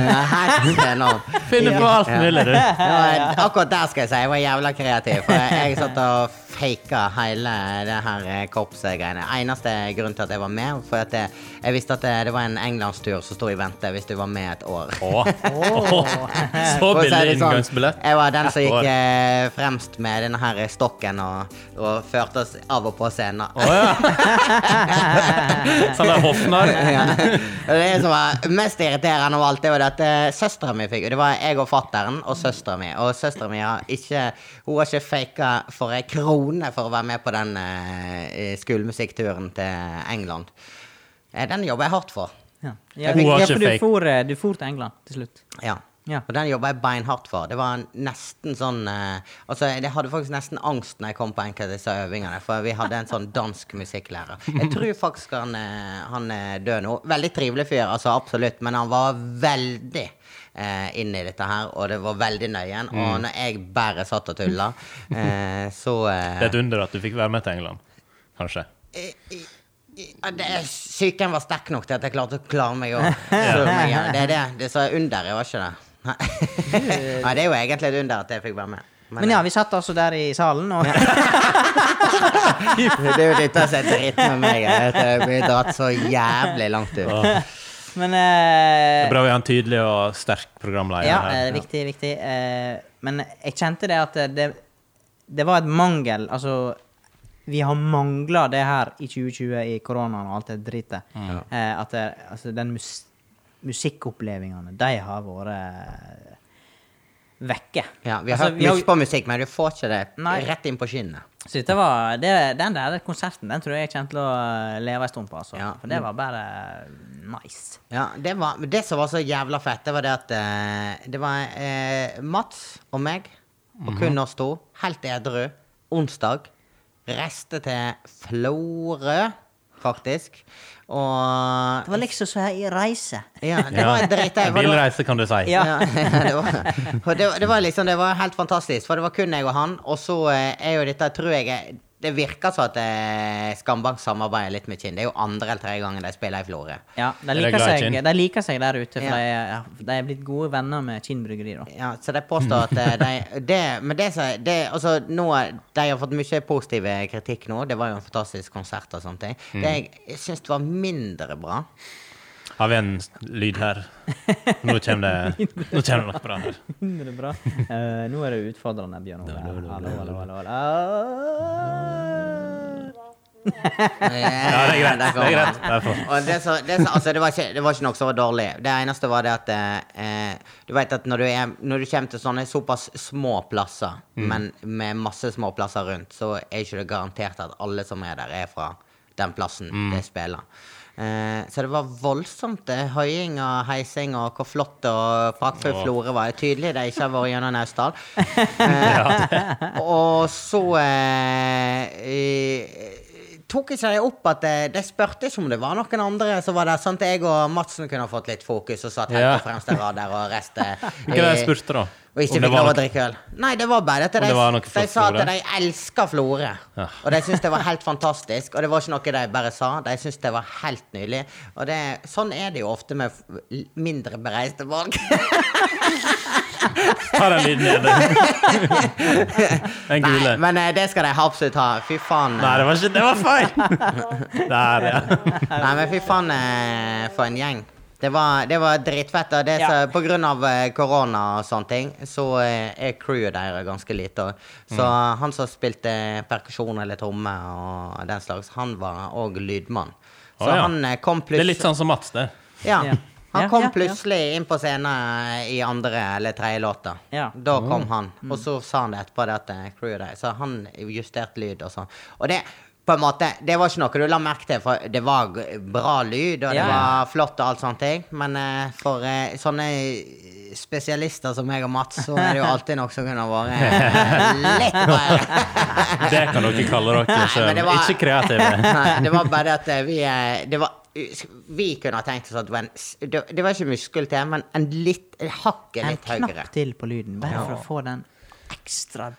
S1: Finner på alt mulig, du.
S3: Ja, akkurat der skal jeg si jeg var jævla kreativ. For jeg satt og faka hele det her eh, korpsgreiene. Eneste grunn til at jeg var med, for at jeg, jeg visste at eh, det- det var en englandstur som sto i vente hvis du var med et år.
S1: Å. Å. Så
S3: For å si
S1: billig
S3: det sånn,
S1: inngangsbillett.
S3: Jeg var den som
S1: Ett år.
S3: gikk eh, fremst med denne her stokken og, og førte oss av og på scenen.
S1: Å ja. Sånn der hoffnarr.
S3: ja. Og Det som var mest irriterende av alt, det var det at søstera mi fikk Det var jeg og fatteren og søstera mi. Og søstera mi har ikke Hun har ikke faka for ei krone for å være med på den eh, skolemusikkturen til England. Eh, Den jobber jeg hardt for.
S2: ja. Ja,
S1: Hun har
S2: ja,
S1: ikke
S2: for du
S1: fake.
S2: for, eh, du for til England til slutt.
S3: Ja.
S2: Ja.
S3: Og den jobba jeg beinhardt for. Det var nesten sånn eh, Altså, jeg hadde faktisk nesten angst når jeg kom på enkelte av disse øvingene, for vi hadde en sånn dansk musikklærer. Jeg tror faktisk han, eh, han er død nå. Veldig trivelig fyr, altså, absolutt, men han var veldig eh, inn i dette her, og det var veldig nøyen. Og
S1: Mm.
S3: når jeg bare satt og tulla, eh, så eh,
S1: Det er et under at du fikk være med til England, kanskje.
S3: i- i- i- ja, det er, Psyken var sterk nok til at jeg klarte å klare meg òg. Det er det. Det sa jeg under, jeg var ikke det. Nei. Nei, det er jo egentlig et under at jeg fikk være med. Men,
S2: Men ja, vi satt altså der i salen, og
S3: eh, det er jo dette som er dritten med meg. er at Jeg blir dratt så jævlig langt ut.
S2: Men
S1: Det
S2: eh,
S1: er bra vi har en tydelig og sterk programleder
S2: Ja, eh,
S1: her.
S2: viktig, viktig. Eh, men jeg kjente det at det, det var et mangel Altså vi har mangla det her i 2020 i koronaen og alt det dritet. Eh, at det, altså, den mus musikkopplevelsene, de har vært eh, vekke.
S3: Ja, vi har
S2: Altså,
S3: hørt
S2: vi har-
S3: mye på musikk, men du får ikke det
S2: Nei.
S3: rett inn på skinnet.
S2: Så dette var, det, den der konserten den tror jeg jeg kommer til å leve en stund på. Altså.
S3: Ja.
S2: For det var bare eh, nice.
S3: Ja, det, var, det som var så jævla fett, det var det at eh, det var eh, Mats og meg, og
S1: Mhm.
S3: kun oss to, helt edru, onsdag, reiste til Florø, faktisk. Og
S2: Det var liksom så her i reise.
S3: ja, det var
S1: Ja.
S3: en dritdeilig- det var-
S1: Bilreise, kan du si.
S2: Ja.
S3: Ja. det, var, og det, var- det var liksom Det var helt fantastisk, for det var kun jeg og han. Og så eh, er jo dette, tror jeg eh, Det virker som at eh, Skambank samarbeider litt med Kinn. Det er jo andre eller tredje gangen de spiller i Florø.
S2: Ja, de
S1: Er det
S2: liker,
S1: glad i
S2: seg,
S1: gin?
S2: de liker seg der ute, for
S3: Ja.
S2: de, er- ja, de er blitt gode venner med Kinn bryggeri. da.
S3: Ja, så de påstår at eh, de det, Men det, som- det altså, nå, er- De har fått mye positiv eh, kritikk nå. Det var jo en fantastisk konsert og sånne ting. Det jeg syns var mindre bra
S1: Har vi en s- lyd her? Nå kommer det, nå kommer det noe bra her.
S2: Det er bra. Eh, nå er det utfordrende, Bjørn Ove. Hallo, hallo, hallo, hallo.
S3: Ja,
S1: Ja, det er greit. Det er greit. Derfor.
S3: Og det, så, det, så, altså, det, var ikke, det var ikke noe som var dårlig. Det eneste var det at eh, eh, Du vet at når du, er, når du kommer til sånne såpass små plasser,
S1: Mm.
S3: men med masse små plasser rundt, så er ikke det garantert at alle som er der, er fra den plassen
S1: Mm.
S3: de spiller. Eh, så det var voldsomt eh, høying og heising og hvor flott og praktfull
S1: Åh.
S3: Florø var. Det er tydelig de ikke har vært gjennom Naustdal. Eh, og så eh, eh, tok ikke de opp at eh, de spurte ikke om det var noen andre som var der. Sånn at jeg og Madsen kunne ha fått litt fokus og satt helt
S1: Ja.
S3: på fremste rad der og resten
S1: Hva er det jeg spurte, da?
S3: Og
S1: Om
S3: ikke
S1: det
S3: fikk
S1: var
S3: lov å
S1: noe-
S3: drikke øl. Nei, det var bare at de,
S1: det var noe
S3: de
S1: flott
S3: sa at
S1: Florø?
S3: de elsker Florø.
S1: Ja.
S3: Og de syntes det var helt fantastisk. Og det var ikke noe de bare sa. De syntes det var helt nydelig. Og det, sånn er det jo ofte med f- l- mindre bereiste folk.
S1: Ta den lyden nede. Den
S3: Nei,
S1: gule.
S3: men eh, det skal de absolutt ha. Fy faen. eh.
S1: Nei, det var ikke Det var feil! Der, ja.
S3: Nei, men fy faen eh, for en gjeng. Det var, det var dritfett. Og det,
S2: Ja.
S3: så, på grunn av eh, korona og sånne ting, så eh, er crewet deres ganske lite. Og, så
S1: Mm.
S3: han som spilte perkusjon eller tromme og den slags, han var òg lydmann. Så
S1: Å, ja.
S3: han eh, kom
S1: Det er
S3: plutselig
S1: litt sånn som Mats, det.
S3: ja.
S2: Ja.
S3: Han
S2: Ja,
S3: kom
S2: ja, ja.
S3: plutselig inn på scenen i andre eller tredje låta.
S2: Ja. Mm.
S3: Da kom han, og så sa han det etterpå, det at eh, crewet der. Så han justerte lyd og sånn. Og det på en måte, det var ikke noe du la merke til, for det var g- bra lyd, og det
S2: Ja, ja.
S3: var flott og alt sånt. ting. Men eh, for eh, sånne eh, spesialister som meg og Mats, så er det jo alltid noe som kunne vært eh, litt bedre.
S1: Det kan dere kalle dere
S3: Nei, men
S1: sjøl.
S3: det var-
S1: Ikke kreative.
S3: Nei, det var bare at eh, vi eh, det var, Vi kunne ha tenkt oss at det var en, s- det, det var ikke muskel til, men en litt en hakket
S2: En
S3: litt høyere.
S2: knapp til på lyden, bare for å få den ekstra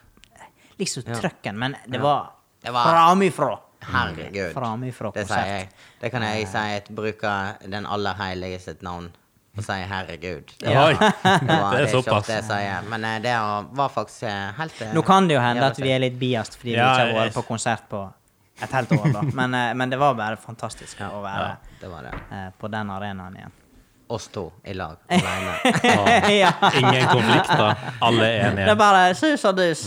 S2: liksom trøkken. Men det var,
S3: Det var-
S2: framifrå.
S3: Herregud.
S2: Framifrå
S3: Det
S2: konsept.
S3: sier jeg. Det kan
S2: Eh.
S3: jeg si. at Bruker den aller hellige sitt navn og sier herregud. Det
S1: Oi.
S3: var-
S1: Det er
S3: ikke ofte
S1: såpass.
S3: jeg sier. Men eh, det var faktisk eh, helt eh,
S2: Nå kan det jo hende
S3: jævla
S2: at vi er litt biast fordi
S1: Ja,
S2: vi ikke har vært
S1: jeg-
S2: på konsert på et helt år, da. Men, eh, men det var bare fantastisk å være
S3: fett. Det var det.
S2: eh, på den arenaen igjen.
S3: Oss to i lag. Alene.
S2: ja.
S1: Ingen konflikter. Alle er
S2: Det er
S1: enige.
S2: bare sus og dus.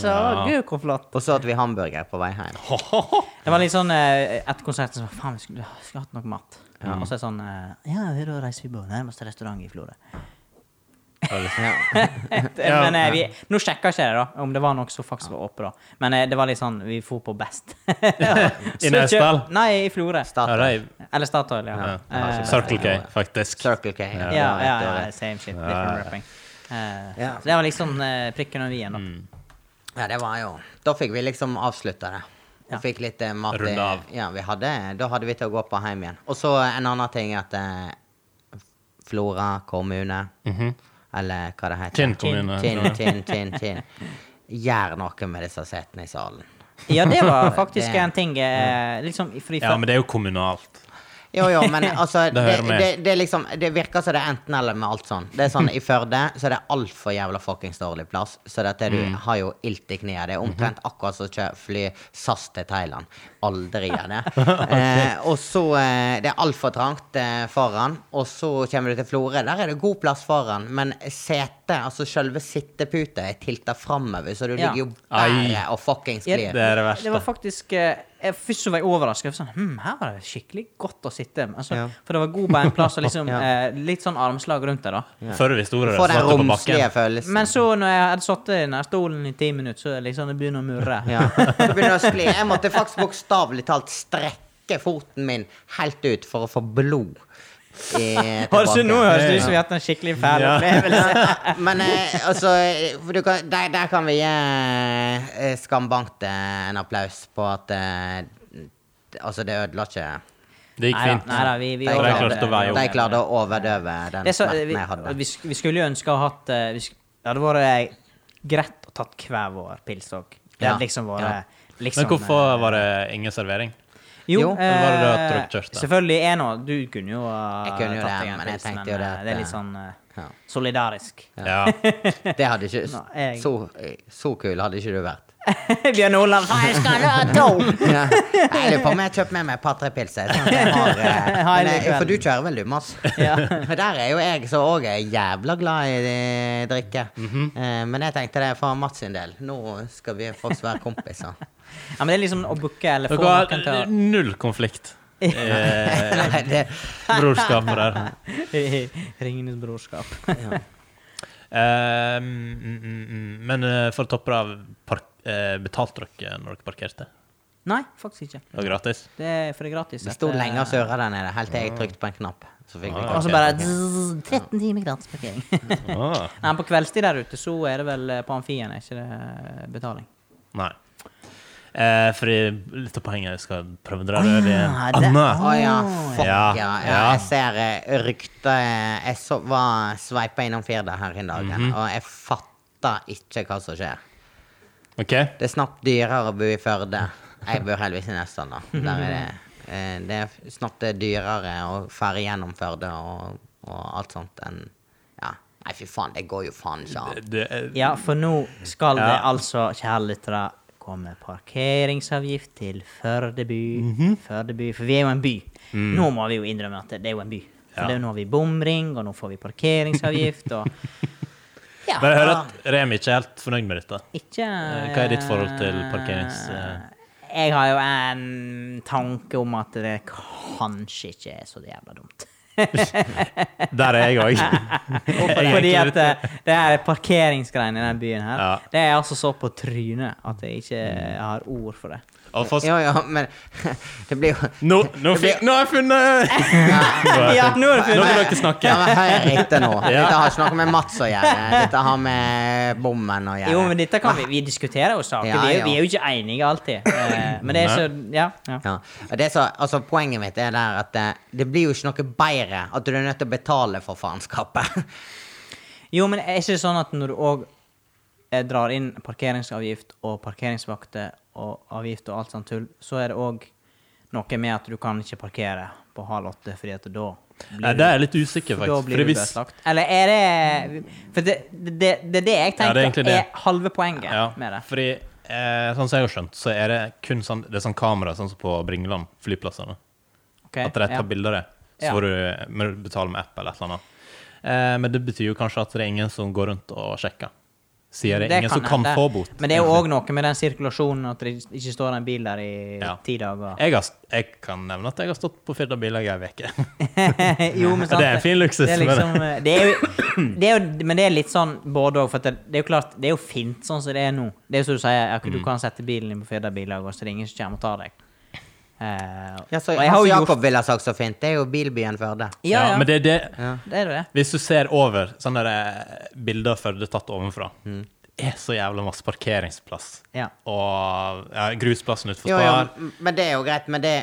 S1: Ja.
S2: og Gud, hvor flott.
S3: Og så at vi hamburger på vei hjem.
S2: Det var litt sånn eh, etter konserten så faen, vi skulle, vi skulle hatt noe mat. Og så er det sånn eh, Ja, da reiser vi på nærmeste restaurant i Florø.
S1: Ja.
S2: Men eh, vi, nå sjekka ikke jeg da, om det var noe som faktisk var oppe, da. Men eh, det var litt sånn Vi for på Best. Så kjøp-
S1: Naustdal?
S2: Nei, i Florø.
S1: Ja,
S3: Statoil.
S1: de-
S2: Eller Statoil, ja.
S1: ja.
S2: Eh,
S1: Circle K, faktisk.
S3: Circle K.
S2: ja,
S3: det
S2: ja,
S3: var
S2: ja,
S3: rett, det var rett.
S2: same shit. Different
S1: Ja, ja.
S2: wrapping. Eh,
S3: Ja.
S2: Så det var liksom eh, prikken over i-en, da.
S1: Mm.
S3: Ja, det var jo Da fikk vi liksom avslutta det. Vi
S2: Ja.
S3: fikk litt eh, mat i-
S1: Runde av.
S3: Ja, vi hadde, da hadde vi til å gå på hjem igjen. Og så eh, en annen ting at eh, Flora kommune, eller hva det heter
S1: Kinn Mhm. kommune. altså.
S3: Kinn, Kinn, Kinn, Kinn. Gjør noe med disse setene i salen.
S2: Ja, det var faktisk
S3: Det-
S2: en ting eh, liksom, fordi
S1: Ja, men det er jo kommunalt.
S3: Jo, jo, men altså Det,
S1: hører
S3: det,
S1: med.
S3: det, er liksom, det virker som det er enten eller med alt sånn. Det er sånn, I Førde så er det altfor jævla fuckings dårlig
S1: Mm. Mhm.
S3: plass, så dette du har jo ilt i knærne. Det er omtrent akkurat som å kjø- fly SAS til Thailand. aldri gjør det. Eh, og så eh, Det er altfor trangt eh, foran, og så kommer du til Florø. Der er det god plass foran, men setet, altså selve sitteputa, er tilta framover, så du
S2: Ja.
S3: ligger jo
S1: Ai.
S3: bare og fuckings glir.
S1: Det er det verste.
S2: Det var faktisk eh, jeg, Først så var jeg overrasket. Sånn, hm, her var det skikkelig godt å sitte. Altså,
S3: Ja.
S2: For det var god beinplass og liksom,
S3: Ja.
S2: eh, litt sånn armslag rundt det. da
S1: Før vi store
S3: Få den
S1: satt på bakken.
S3: romslige følelsen.
S2: Men så, når jeg hadde sittet i denne stolen i ti minutter, så er det liksom det begynner å murre.
S3: Ja. Det begynner å skli. Jeg måtte faktisk bokstavelig talt strekke foten min helt ut for å få blod. i-
S2: Har du ikke nå
S3: tilbake.
S2: høres det ut som vi har hatt en skikkelig fæl
S1: Ja.
S2: opplevelse?
S3: Men eh, altså eh, for du kan, der, der kan vi gi eh, Skambankt eh, en applaus på at eh, Altså, det ødela ikke
S1: Det gikk
S2: Neida,
S1: fint.
S2: neida, vi- vi
S3: De
S1: Og jeg
S2: overlevde.
S1: klarte å veie
S3: De
S1: opp.
S3: klarte å overdøve den
S2: Det er så,
S3: smerten
S2: vi,
S3: jeg hadde.
S2: vi, sk- vi skulle jo ønske å ha hatt eh, vi sk- Det hadde vært eh, greit å tatt hver vår pils òg. Det
S3: Ja.
S2: hadde liksom vært
S3: Ja.
S2: liksom,
S1: Men hvorfor
S2: eh,
S1: var det ingen servering?
S2: Jo,
S3: Jo.
S2: eh,
S1: Eller var det da at dere kjørte?
S2: selvfølgelig er nå Du kunne jo ha
S3: Jeg kunne jo
S2: tatt
S3: det,
S2: deg en
S3: men jeg
S2: pils,
S3: tenkte jo det
S2: eh,
S3: at,
S2: det er
S3: eh,
S2: litt sånn eh,
S3: Ja.
S2: solidarisk.
S1: Ja.
S3: Det hadde ikke
S2: Nei, jeg-
S3: Så, så kul hadde ikke du vært.
S2: Bjørn Olav, faen, jeg skal ha to!
S3: Ja. Jeg lurer på om jeg har kjøpt med meg et par-tre pilser. Sånn at jeg har, eh,
S2: Ha en
S3: men,
S2: i
S3: eh,
S2: kvelden.
S3: for du kjører vel, du, Mads?
S2: Ja.
S3: For der er jo jeg som òg er jævla glad i eh, drikke.
S2: Mhm.
S3: Eh, Men jeg tenkte det for Mats sin del. Nå skal vi faktisk være kompiser.
S2: Ja, men det er liksom å booke eller få
S1: Dere
S2: noen til
S1: har null konflikt. Eh,
S3: Nei, det,
S1: brorskapet der.
S2: å Ringenes brorskap.
S1: Eh, mm, mm, mm. men eh, for å toppe det av, park, eh, betalte dere når dere parkerte?
S2: Nei, faktisk ikke.
S1: Det var gratis?
S2: Det er for det er gratis.
S3: det sto
S2: Dette-
S3: lenge altså. og surra der nede, helt til jeg trykte på en knapp. Så fikk
S1: Ja,
S3: vi
S2: Og
S1: ja.
S3: knapp.
S2: så bare zzz, 13 timer gratis parkering.
S1: Ah,
S2: Nei, på kveldstid der ute så er det vel eh, på Amfien, er ikke det eh, betaling?
S1: nei. Eh, fordi litt av poenget jeg skal prøve å dra det over i en
S2: Ah, det-
S1: annen.
S3: Å ja, fuck ja.
S1: Ja,
S3: ja.
S1: ja.
S3: Jeg ser eh, rykter Jeg så, var sveipa innom Firda her i dag,
S2: Mhm.
S3: og jeg fatta ikke hva som skjer.
S1: OK?
S3: Det er snart dyrere å bo i Førde. Jeg bor heldigvis i Nesdal, da.
S1: Mhm.
S3: Der er det, eh, det er snart dyrere å ferge gjennom Førde og, og alt sånt enn Ja. Nei, fy faen, det går jo faen ikke an.
S1: Det, eh,
S2: Ja, for nå skal det
S1: Ja.
S2: altså, kjære lyttere, komme parkeringsavgift til Førde by.
S1: Mhm.
S2: Førde by, for vi er jo en by. Nå må vi jo innrømme at det er jo en by.
S1: Mm.
S2: For
S1: Ja.
S2: det er jo nå har vi bomring, og nå får vi parkeringsavgift, og Ja.
S1: Bare hør at Remi ikke er helt fornøyd med dette.
S2: Ikke
S1: Eh, hva er ditt forhold til parkerings- eh?
S2: Jeg har jo en tanke om at det kanskje ikke er så jævla dumt.
S1: Der er jeg òg.
S2: Fordi at eh, det her parkeringsgreiene i den byen her,
S1: Ja. Mm.
S2: det er altså så på trynet at jeg ikke har ord for det.
S3: Jo, jo, men det blir jo
S1: Nå, nå, fikk, nå har jeg funnet
S2: Ja, nå
S1: Nå
S2: er det funnet.
S1: kan dere snakke.
S3: Ja, men Hør etter nå.
S1: Ja.
S3: Dette har ikke noe med Mats å gjøre. Dette har med bommen å gjøre.
S2: Jo, men dette kan vi Vi diskuterer jo saker.
S3: Ah. Ja,
S2: vi, er, jo-
S3: ja.
S2: vi er jo ikke enige alltid. Eh, Men det er så Ja. ja.
S3: Ja. og Det så, altså, poenget mitt er der at det, det blir jo ikke noe bedre at du er nødt til å betale for faenskapet.
S2: Jo, men er ikke det sånn at når du òg drar inn parkeringsavgift og parkeringsvakter og avgift og alt sånt tull, så er det òg noe med at du kan ikke parkere på halv åtte, fordi at da blir
S1: Nei, Det er jeg litt usikker,
S2: For da
S1: faktisk.
S2: blir
S1: Fordi
S2: du
S1: hvis,
S2: bøtelagt. Eller er det For det det, det, det er det jeg
S1: Ja,
S2: tenker
S1: det er
S2: er,
S1: egentlig det.
S2: halve poenget
S1: ja,
S2: med det.
S1: fordi eh, sånn som jeg har skjønt, så er det kun sånn, det er sånn kamera sånn som på Bringeland flyplassene.
S2: Ok,
S1: At de
S2: ja.
S1: tar bilder av det. Så
S2: Ja.
S1: får du, men du betaler med app eller et eller annet. Eh, men det betyr jo kanskje at det er ingen som går rundt og sjekker. Sier det, er ingen som kan
S2: hende.
S1: få bot.
S2: Men det er jo òg noe med den sirkulasjonen, at det ikke står en bil der i
S1: Ja.
S2: ti dager.
S1: Jeg, har, jeg kan nevne at jeg har stått på Firda Bilag ei uke.
S2: jo, men sant,
S1: Det er en fin luksus,
S2: Det er
S1: men-
S2: liksom, eh, det er jo, det er jo, men det er litt sånn både òg, for at det, det er jo klart Det er jo fint sånn som det er nå. Det er jo som du sier, at du
S1: Mm.
S2: kan sette bilen din på Firda bilag, og så er det ingen som kommer og tar deg. Eh,
S3: Ja, så,
S2: og jeg har
S3: altså,
S2: jo
S3: Jakob
S2: gjort
S3: ville ha sagt så fint. Det er jo bilbyen Førde.
S2: Ja, ja,
S1: Men det er det
S2: det er jo det.
S1: Hvis du ser over sånne der eh, bilder før det er tatt ovenfra Det er så jævla masse parkeringsplass.
S2: Mm. Ja.
S1: Og ja, grusplassen utenfor
S3: Jo, jo,
S1: Spar.
S3: m- men det er jo greit. Men det,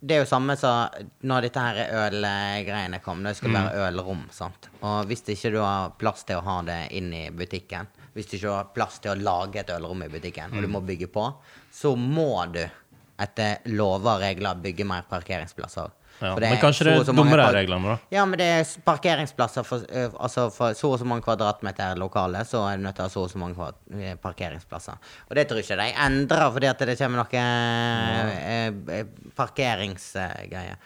S3: det er jo samme som når dette her ølgreiene kom. Det skulle være ølrom. sant? Og hvis ikke du har plass til å ha det inn i butikken, Mm. hvis du ikke har plass til å lage et ølrom i butikken, og du må bygge på, så må du etter lover og regler bygge mer parkeringsplasser.
S1: Ja,
S3: For
S1: men kanskje det
S3: så
S1: er
S3: og så mange
S1: dummere
S3: par-
S1: reglene, da?
S3: Ja, men det er s- parkeringsplasser for, eh, altså for så og så mange kvadratmeter lokale, så er du nødt til å ha så og så mange kva- eh, parkeringsplasser. Og det tror jeg ikke de endrer, fordi at det kommer noe eh, eh, parkeringsgreier.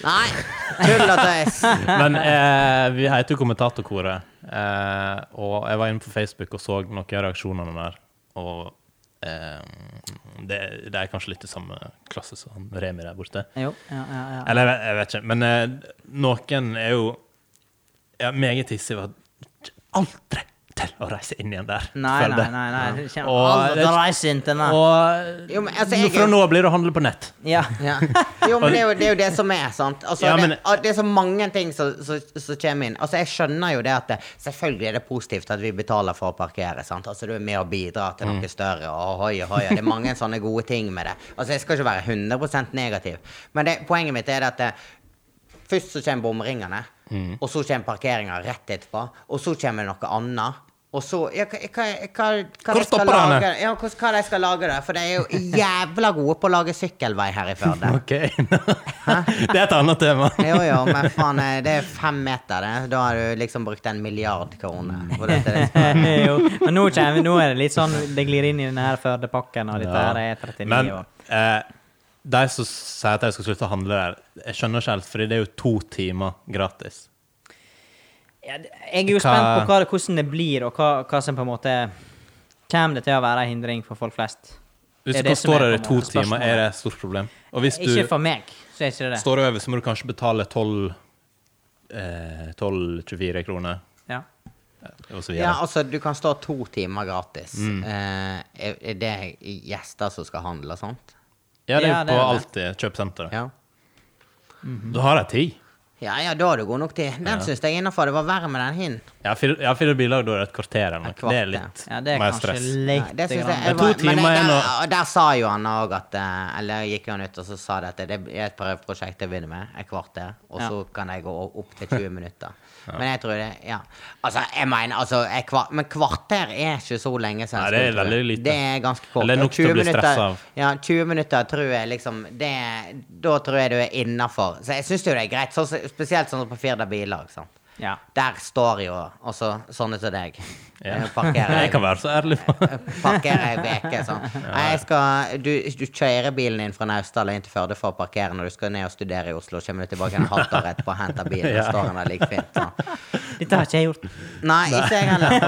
S3: Nei, tull og tøys.
S1: Men eh, vi heter jo Kommentatorkoret, eh, og jeg var inne på Facebook og så noen av reaksjonene der. Og eh, det, det er kanskje litt i samme klasse som han Remi der borte.
S2: Jo, ja, ja, ja.
S1: Eller jeg vet, jeg vet ikke. Men eh, noen er jo ja, meget hissige ved at aldri til å reise inn igjen der.
S2: Nei,
S1: føler
S2: nei,
S1: jeg.
S2: nei. nei. Det kommer
S1: Og-
S2: aldri til å reise inn til den.
S1: Og
S3: Jo, men altså, jeg-
S1: fra nå blir det å handle på nett.
S2: Ja.
S3: Ja. Jo, men det er jo det, er jo det som er, sant. Altså,
S1: Ja, men-
S3: det, ah, det er så mange ting som som- som kommer inn. Altså, jeg skjønner jo det at det, selvfølgelig er det positivt at vi betaler for å parkere. sant? Altså, Du er med og bidrar til
S1: Mm.
S3: noe større. og hoi, hoi, og Det er mange sånne gode ting med det. Altså, Jeg skal ikke være 100 negativ, men det, poenget mitt er det at det, Først så kommer bomringene,
S1: Mm.
S3: og så kommer parkeringa rett etterpå. Og så kommer det noe annet. Og så ja, hva, hva, hva, hva,
S1: Hvor
S3: de skal
S1: stopper han,
S3: lage,
S1: da?
S3: ja, hva, hva de skal lage der? For de er jo jævla gode på å lage sykkelvei her i Førde.
S1: OK. det er et annet tema.
S3: Jo, jo, men faen, eh, det er fem meter, det. Da har du liksom brukt en milliard kroner. på dette. Det skal-
S2: Eh, jo. Men nå, kommer, vi- nå er det litt sånn Det glir inn i denne her Førdepakken, og dette
S1: Ja.
S2: her er 39
S1: Men
S2: år.
S1: eh, de som sier at de skal slutte å handle der, jeg skjønner ikke helt, fordi det er jo to timer gratis.
S2: Ja, det- jeg er jo
S1: Hva-
S2: spent på hva, hvordan det blir, og hva, hva som på en måte Kommer det til å være en hindring for folk flest?
S1: Hvis
S2: Det
S1: du
S2: er det
S1: kan
S2: som
S1: stå
S2: er
S1: der i
S2: på en
S1: to
S2: måte
S1: timer,
S2: spørsmålet.
S1: er det et stort problem. Og hvis du
S2: Ikke for meg, så er ikke det det.
S1: står over, så må du kanskje betale 12 eh, 12-24 kroner, eh,
S2: Ja.
S1: og så
S3: Ja,
S1: videre.
S3: altså, du kan stå to timer gratis. Eh, er er det gjester som skal handle og sånt?
S1: Ja, det er
S2: ja,
S1: jo
S2: det
S1: på
S2: er
S1: alt i kjøpesenteret.
S3: Ja.
S1: Da har de tid.
S3: Ja, ja, da har du god nok tid. Den synes syns jeg innafor. Det var verre med den hin.
S1: Ja, fire, ja, fire biler, da er det et kvarter eller
S3: Et
S1: noe.
S3: kvarter.
S1: Det er litt
S2: ja, det er
S1: mer
S2: kanskje
S1: stress.
S2: litt
S3: Nei, det synes jeg,
S1: Det
S2: grann.
S3: jeg
S1: er
S3: var,
S1: to timer
S3: men jeg,
S1: igjen,
S3: der,
S1: og-
S3: og der sa jo han òg at eh, Eller gikk han ut og så sa det at det er et prøveprosjekt jeg begynner med, et kvarter, og
S2: Ja.
S3: så kan jeg gå opp til 20 minutter. Men jeg tror det Ja. Altså, jeg mener altså et kvar, Men kvarter er ikke så lenge siden.
S1: Nei, det er
S3: skulle jeg tro.
S1: veldig lite.
S3: Det er ganske kort.
S1: Eller
S3: Og
S1: nok til å
S3: 20
S1: bli
S3: minutter-
S1: stresset av.
S3: Ja, 20 minutter tror jeg liksom det, Da tror jeg du er innafor. Så jeg syns jo det er greit, så, spesielt sånn som på Firda biler. ikke sant?
S2: Ja.
S3: Der står jo også sånne som deg.
S1: Ja.
S3: Eh, Parkerer
S1: Jeg kan være så ærlig på
S3: parkere ei uke. Sånn. Nei, jeg skal, du, du kjører bilen din fra Naustdal og inn til Førde for å parkere når du skal ned og studere i Oslo. Kommer du tilbake en halvt år etterpå og henter bilen, og
S1: Ja.
S3: står den der like fint. Sånn.
S2: Dette har ikke jeg gjort.
S3: Nei, ikke jeg heller,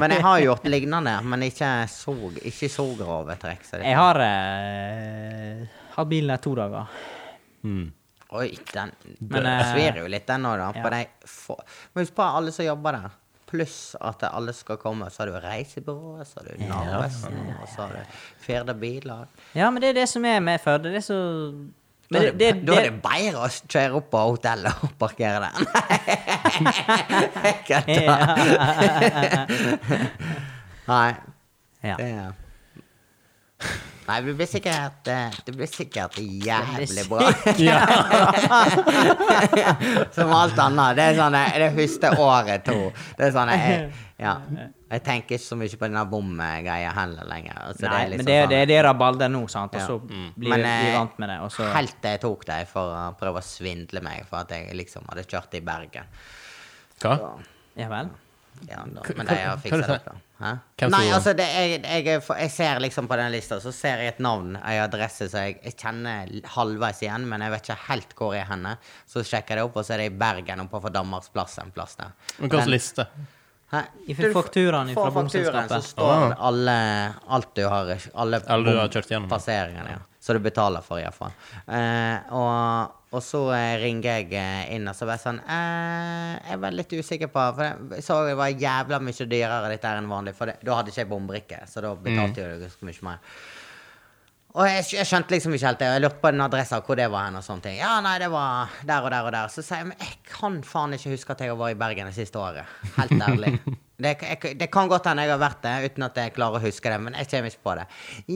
S3: Men jeg har gjort lignende, men ikke så, ikke så grove trekk. Så det.
S2: Jeg har eh, hatt bilen der to dager.
S3: Oi, den
S2: Men,
S3: den
S2: eh,
S3: svir jo litt, den òg, da.
S2: ja.
S3: På de få. Men husk på alle som jobber der. Pluss at alle skal komme. Så har du reisebyrået, så har du Narvesen, og så har du Firda biler.
S2: Ja, men det er det som er med Førde. Det er så
S3: Da
S2: men
S3: er
S2: det, det,
S3: det, da er det bedre å kjøre opp på hotellet og parkere der. Nei, jeg kødder. Nei.
S2: Ja.
S3: Det er- Nei, det blir sikkert eh, Det blir sikkert jævlig
S2: Det blir
S3: bra.
S1: Ja.
S3: Som alt annet. Det er sånn eh, Det første året, to. Det er sånn eh, jeg, Ja. Jeg tenker ikke så mye på denne bomgreia heller lenger. Altså,
S2: Nei,
S3: liksom
S2: men det,
S3: sånn-
S2: det, det er rabalder nå, sant, og
S3: Ja.
S2: så blir
S3: Men,
S2: vi
S3: eh,
S2: vant med det. Og så
S3: Helt til jeg tok deg for å prøve å svindle meg for at jeg liksom hadde kjørt i Bergen.
S1: Hva?
S3: Så,
S2: Ja vel.
S3: ja, da,
S1: Hva-
S3: men
S1: hva-
S3: de har
S1: hva er
S3: fiksa
S1: det
S3: det.
S1: for-
S3: da. Hæ?
S1: Hvem
S3: Nei,
S1: som-
S3: altså, det, jeg, jeg, er for- jeg ser liksom på den lista, så ser jeg et navn, ei adresse som jeg, jeg kjenner halvveis igjen, men jeg vet ikke helt hvor jeg er henne. Så sjekker jeg det opp, og så er det i Bergen, oppe på Danmarks plass en plass der.
S1: Men hva slags liste?
S3: Hæ?
S2: I
S3: Du får-
S2: fakturaen
S3: får
S2: fra
S3: fakturaen,
S2: bomselskapet.
S3: Så står alle, alt du har Alle,
S1: Alle Ah. du har kjørt gjennom.
S3: passeringene, ja. Så du betaler for, iallfall. Eh, og, og så eh, ringer jeg eh, inn og så var jeg sånn eh, Jeg var litt usikker på For jeg så det var jævla mye dyrere dette her enn vanlig, for det, da hadde ikke jeg bombrikke, så da
S1: Mm.
S3: betalte jeg jo ganske mye mer. Og jeg, skj- jeg skjønte liksom ikke helt det. og Jeg lurte på den adressa, hvor det var hen. og sånne ting. Ja, nei, det var der og der og der. Så sier jeg, men jeg kan faen ikke huske at jeg har vært i Bergen det siste året. Helt ærlig. Det, jeg, det kan godt hende jeg har vært det, uten at jeg klarer å huske det. Men jeg kommer ikke på det.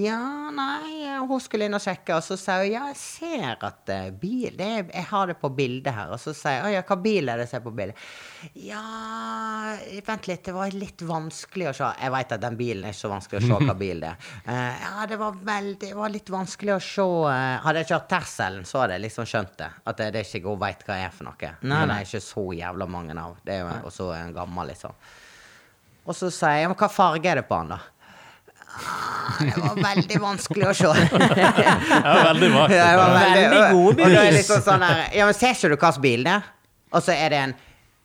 S3: Ja, nei, hun skulle inn og sjekke, og så sa hun ja, jeg ser at eh, bil det, er- Jeg har det på bildet her. Og så sier jeg å ja, hva bil er det jeg ser på bildet? Ja, vent litt, det var litt vanskelig å se. Jeg veit at den bilen er ikke så vanskelig å se hva bil det er. Eh, ja, det var veldig Det var litt vanskelig å se. eh, hadde jeg kjørt terskelen, så hadde jeg liksom skjønt det. At det, det er ikke hun veit hva er for noe. Men det er ikke så jævla mange av. Det er jo også en gammel, liksom. Og så sier jeg, men hva farge er det på han da? Ah, Det var veldig vanskelig å se.
S1: Det er veldig vagt.
S3: Ja, det var
S1: dette.
S2: Veldig gode
S3: Og da er det
S2: bevis.
S3: liksom sånn her, ja, men ser ikke du hvilken bil det er? Og så er det en,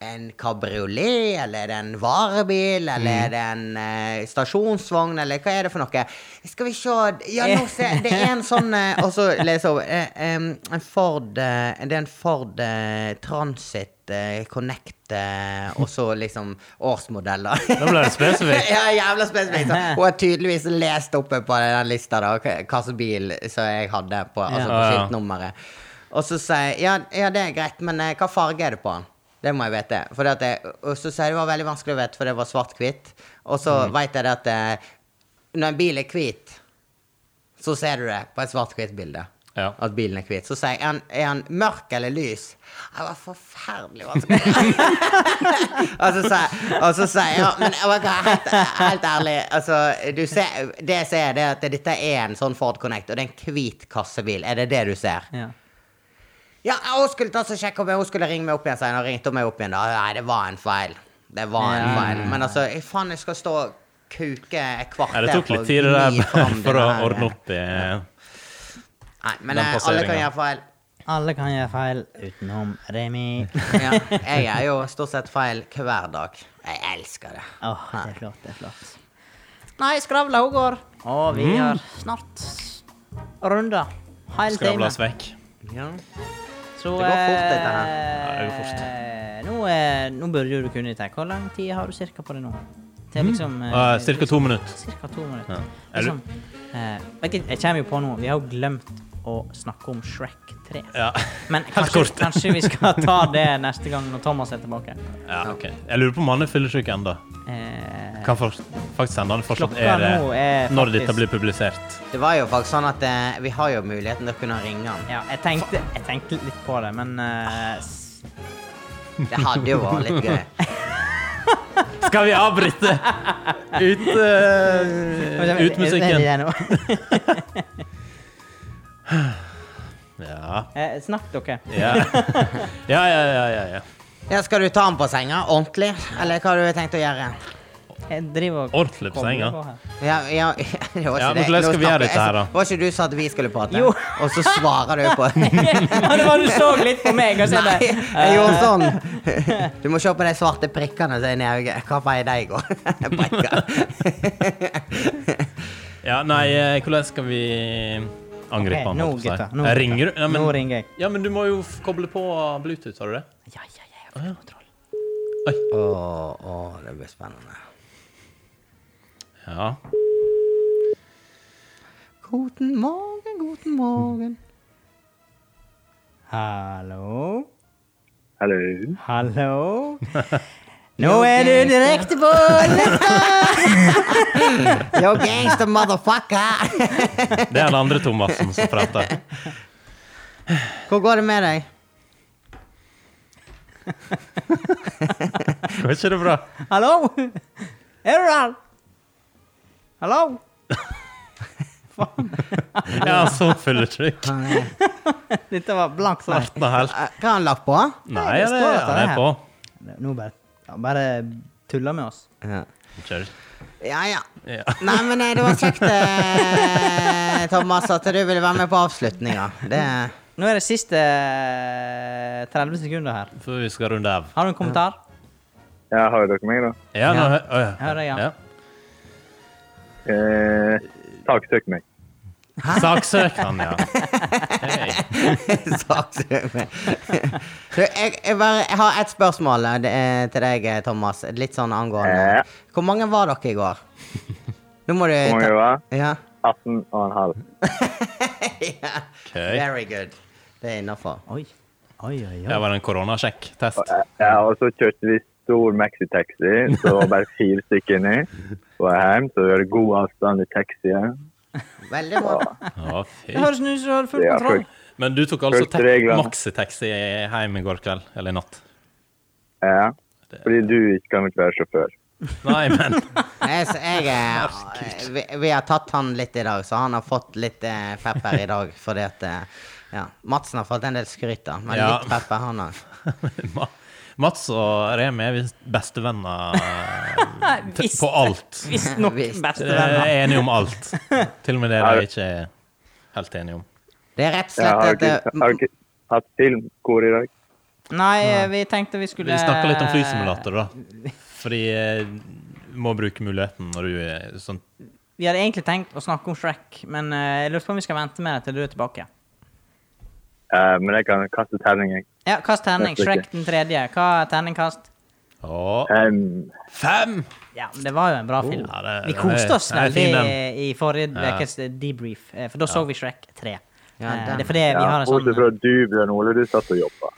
S3: en kabriolet, eller er det en varebil, eller er det en eh, stasjonsvogn, eller hva er det for noe? Skal vi se, ja, nå ser det er en sånn, eh, og så leser hun, eh, em, en Ford, eh, det er en Ford eh, Transit, eh, Connect, eh, og så liksom årsmodeller.
S1: Nå ble det spesifikt.
S3: Ja, jævla spesifikt. Så Hun har tydeligvis lest oppe på den lista da, hva hva slags bil som jeg hadde på, altså på
S1: Ja, ja.
S3: skiltnummeret. Og så sier jeg ja, ja, det er greit, men eh, hva farge er det på den? Det må jeg vite. Fordi at jeg, og så sier jeg det var veldig vanskelig å vite, for det var svart-hvitt. Og så vet jeg det at eh, når en bil er hvit, så ser du det på et svart-hvitt bilde.
S1: Ja.
S3: At bilen er hvit. Så sier jeg er den- er den mørk eller lys? Det var forferdelig vanskelig. Og så sa jeg, og så sa jeg ja, men jeg var helt, helt ærlig altså, du ser, Det jeg ser, det er at dette er en sånn Ford Connect, og det er en hvit kassebil. Er det det du ser?
S2: Ja.
S3: Ja, hun skulle ta så sjekke om jeg- hun skulle ringe meg opp igjen senere. Ringte hun meg opp igjen da? Nei, det var en feil. Det var en
S2: Ja.
S3: feil. Men altså, jeg- faen, jeg skal stå og kuke et kvarter
S1: Ja, det tok
S3: for å
S1: litt tid det der
S3: gni fram
S1: for å
S3: denne her- eh,
S1: ordne opp i eh,
S3: Nei, men
S1: den
S3: eh, alle kan
S1: passeringen.
S3: gjøre feil.
S2: Alle kan gjøre feil utenom Remi.
S3: Ja, jeg er jo stort sett feil hver dag. Jeg elsker det.
S2: Åh, det er flott, det er flott. Nei, skravla hun går. Og vi
S3: Mm.
S2: har snart runda. Hele time.
S1: Skravlas vekk.
S3: Ja.
S2: Så
S3: Det går
S2: eh,
S3: fort, dette her.
S1: Ja, det går fort.
S2: Nå, eh, nå burde jo du kunne dette. Hvor lang tid har du cirka på det nå? Til liksom eh,
S1: Uh, Cirka to minutter.
S2: cirka to
S1: Ja.
S2: minutter.
S1: Er du-
S2: Liksom, eh, vet ikke, jeg kommer jo på noe. Vi har jo glemt å snakke om Shrek 3.
S1: Ja.
S2: Men
S1: Helt
S2: kanskje,
S1: kort.
S2: kanskje vi skal ta det neste gang når Thomas er tilbake.
S1: ja, ok. Jeg lurer på om han er fyllesyk ennå.
S2: Eh,
S1: Kan fakt- faktisk hende han fortsatt
S2: Klokka
S1: er det
S2: nå er
S1: når
S2: faktisk-
S1: dette blir publisert.
S3: Det var jo faktisk sånn at eh, vi har jo muligheten til å kunne ringe han.
S2: ja, jeg tenkte, jeg tenkte litt på det, men eh, s-
S3: Det hadde jo vært litt gøy.
S1: Skal vi avbryte? Ut, eh, ut musikken. Ja.
S2: Eh, Snakk dere.
S1: Ja. Ja, ja, ja, ja, ja.
S3: Ja, skal du ta han på senga ordentlig, eller hva har du tenkt å gjøre?
S2: Jeg driver og
S1: Ordentlig på
S2: kobler
S1: senga.
S2: på her.
S3: Ja, ja, det var ikke
S1: Ja, men
S3: det.
S1: hvordan skal vi
S3: Nå
S1: gjøre
S3: snakker-
S1: dette her, da?
S3: jeg- Var ikke du sa at vi skulle prate?
S2: Jo.
S3: Og så svarer du på
S2: Ja, det var du så litt på meg, og så er
S3: Nei,
S2: det
S3: jeg gjorde sånn. Du må se på de svarte prikkene som er inni øyet. Hva vei de går. Prikker.
S1: Ja, nei, eh, hvordan skal vi angripe
S2: Ok,
S1: han?
S2: nå,
S1: holdt jeg på å si?
S2: gutta, nå,
S1: ringer du?
S2: gutta.
S1: Ja, men,
S2: Nå ringer jeg.
S1: Ja, men du må jo f- koble på Bluetooth, har du det?
S2: Ja, ja, ja, jeg har fått kontroll.
S3: Å, å, det blir spennende.
S1: Ja.
S3: Guten morgen, guten morgen.
S2: Hallo?
S4: Hallo.
S2: Hallo? Nå er du direkte på lufta!
S3: Yo, gangster motherfucker.
S1: Det er den andre Thomassen som prater.
S3: Hvor går det med deg?
S1: Var ikke det bra?
S2: Hallo? Er du der? Hallo?
S1: Ja, så fylletrykk.
S2: Dette var blankt svar.
S1: Svarten er helt
S3: Eh, Hva har han lagt på?
S1: Nei, det,
S2: det står at
S1: han
S2: det
S1: er
S2: er
S1: på.
S2: Nå bare, ja, bare tuller med oss.
S3: Ja.
S1: Kjør.
S3: Ja, ja.
S1: Ja.
S3: Nei, men eh, det var kjekt, eh, Thomas, at du ville være med på avslutninga. Det
S2: Nå er det siste eh, 30 sekunder her.
S1: Før vi skal runde av.
S2: Har du en kommentar?
S4: Ja, hører dere meg, da?
S1: Ja, nå,
S2: Ja.
S1: å, ja.
S2: Hører jeg, ja.
S4: Eh, Saksøk meg.
S1: Saksøk han, ja. Hei.
S3: Saksøker. Du, jeg, jeg, bare, jeg har ett spørsmål eh, det er til deg, eh, Thomas. Litt sånn angående
S4: Ja.
S3: Hvor mange var dere i går? Nå må du
S4: Hvor mange
S3: ta-
S4: var det?
S3: Ja.
S4: 18 og en halv.
S3: ja.
S1: Okay.
S3: Very good. Det er innafor.
S2: Oi. Oi, oi, oi.
S1: Det var en koronasjekk-test.
S4: Ja, og så kjørte vi stor maxitaxi, så var bare fire stykker inni. På vei hjem, så var det god avstand i taxien.
S3: Veldig bra.
S1: Ja,
S2: Det
S1: fy.
S2: høres ut som du hadde full
S4: Det er
S2: kontroll.
S4: fullt.
S1: Men du tok altså
S4: Fulgte
S1: te-
S4: reglene.
S1: maxitaxi hjem i går kveld, eller i natt?
S4: Ja. Fordi du ikke kan ikke være sjåfør.
S1: Nei, men
S3: Jeg, s- jeg, eh, vi, vi har tatt han litt i dag, så han har fått litt eh, pepper i dag. Fordi at eh, ja. Madsen har fått en del skryt, da, men
S1: Ja.
S3: litt pepper han òg.
S1: Ma- Mats og Remi er visst bestevenner eh, t-
S2: Visst.
S1: på Eh, alt.
S2: Visstnok
S3: Visst.
S1: Dere
S2: bestevenner.
S1: er enige om alt. Til og med det dere ikke er helt enige om.
S3: Det er rett og
S4: Jeg
S3: slett
S4: har
S3: at
S4: ikke,
S3: eh,
S4: har ikke hatt filmkor i dag.
S2: Nei, vi tenkte vi skulle
S1: Vi snakka litt om flysimulator, da. Fordi eh, du må bruke muligheten når du er sånn
S2: Vi hadde egentlig tenkt å snakke om Shrek, men eh, jeg lurer på om vi skal vente med det til du er tilbake.
S4: Eh, men jeg kan kaste terning, jeg.
S2: Ja, kast terning.
S4: Jeg tror
S2: Shrek
S4: ikke.
S2: den tredje. Hva er terningkast?
S1: Å,
S4: Em,
S1: fem!
S2: Ja, men det var jo en bra film.
S1: Oh, Ja, det-
S2: Vi koste oss
S1: det er
S2: veldig
S1: fin,
S2: i forrige
S1: Ja.
S2: ukes debrief, eh, for da så vi Shrek 3.
S3: Ja,
S2: Eh,
S3: den.
S2: det er fordi vi har
S4: ja,
S2: en
S4: bortsett
S2: sånn
S4: fra du, Bjørn Ole, du satt og jobba.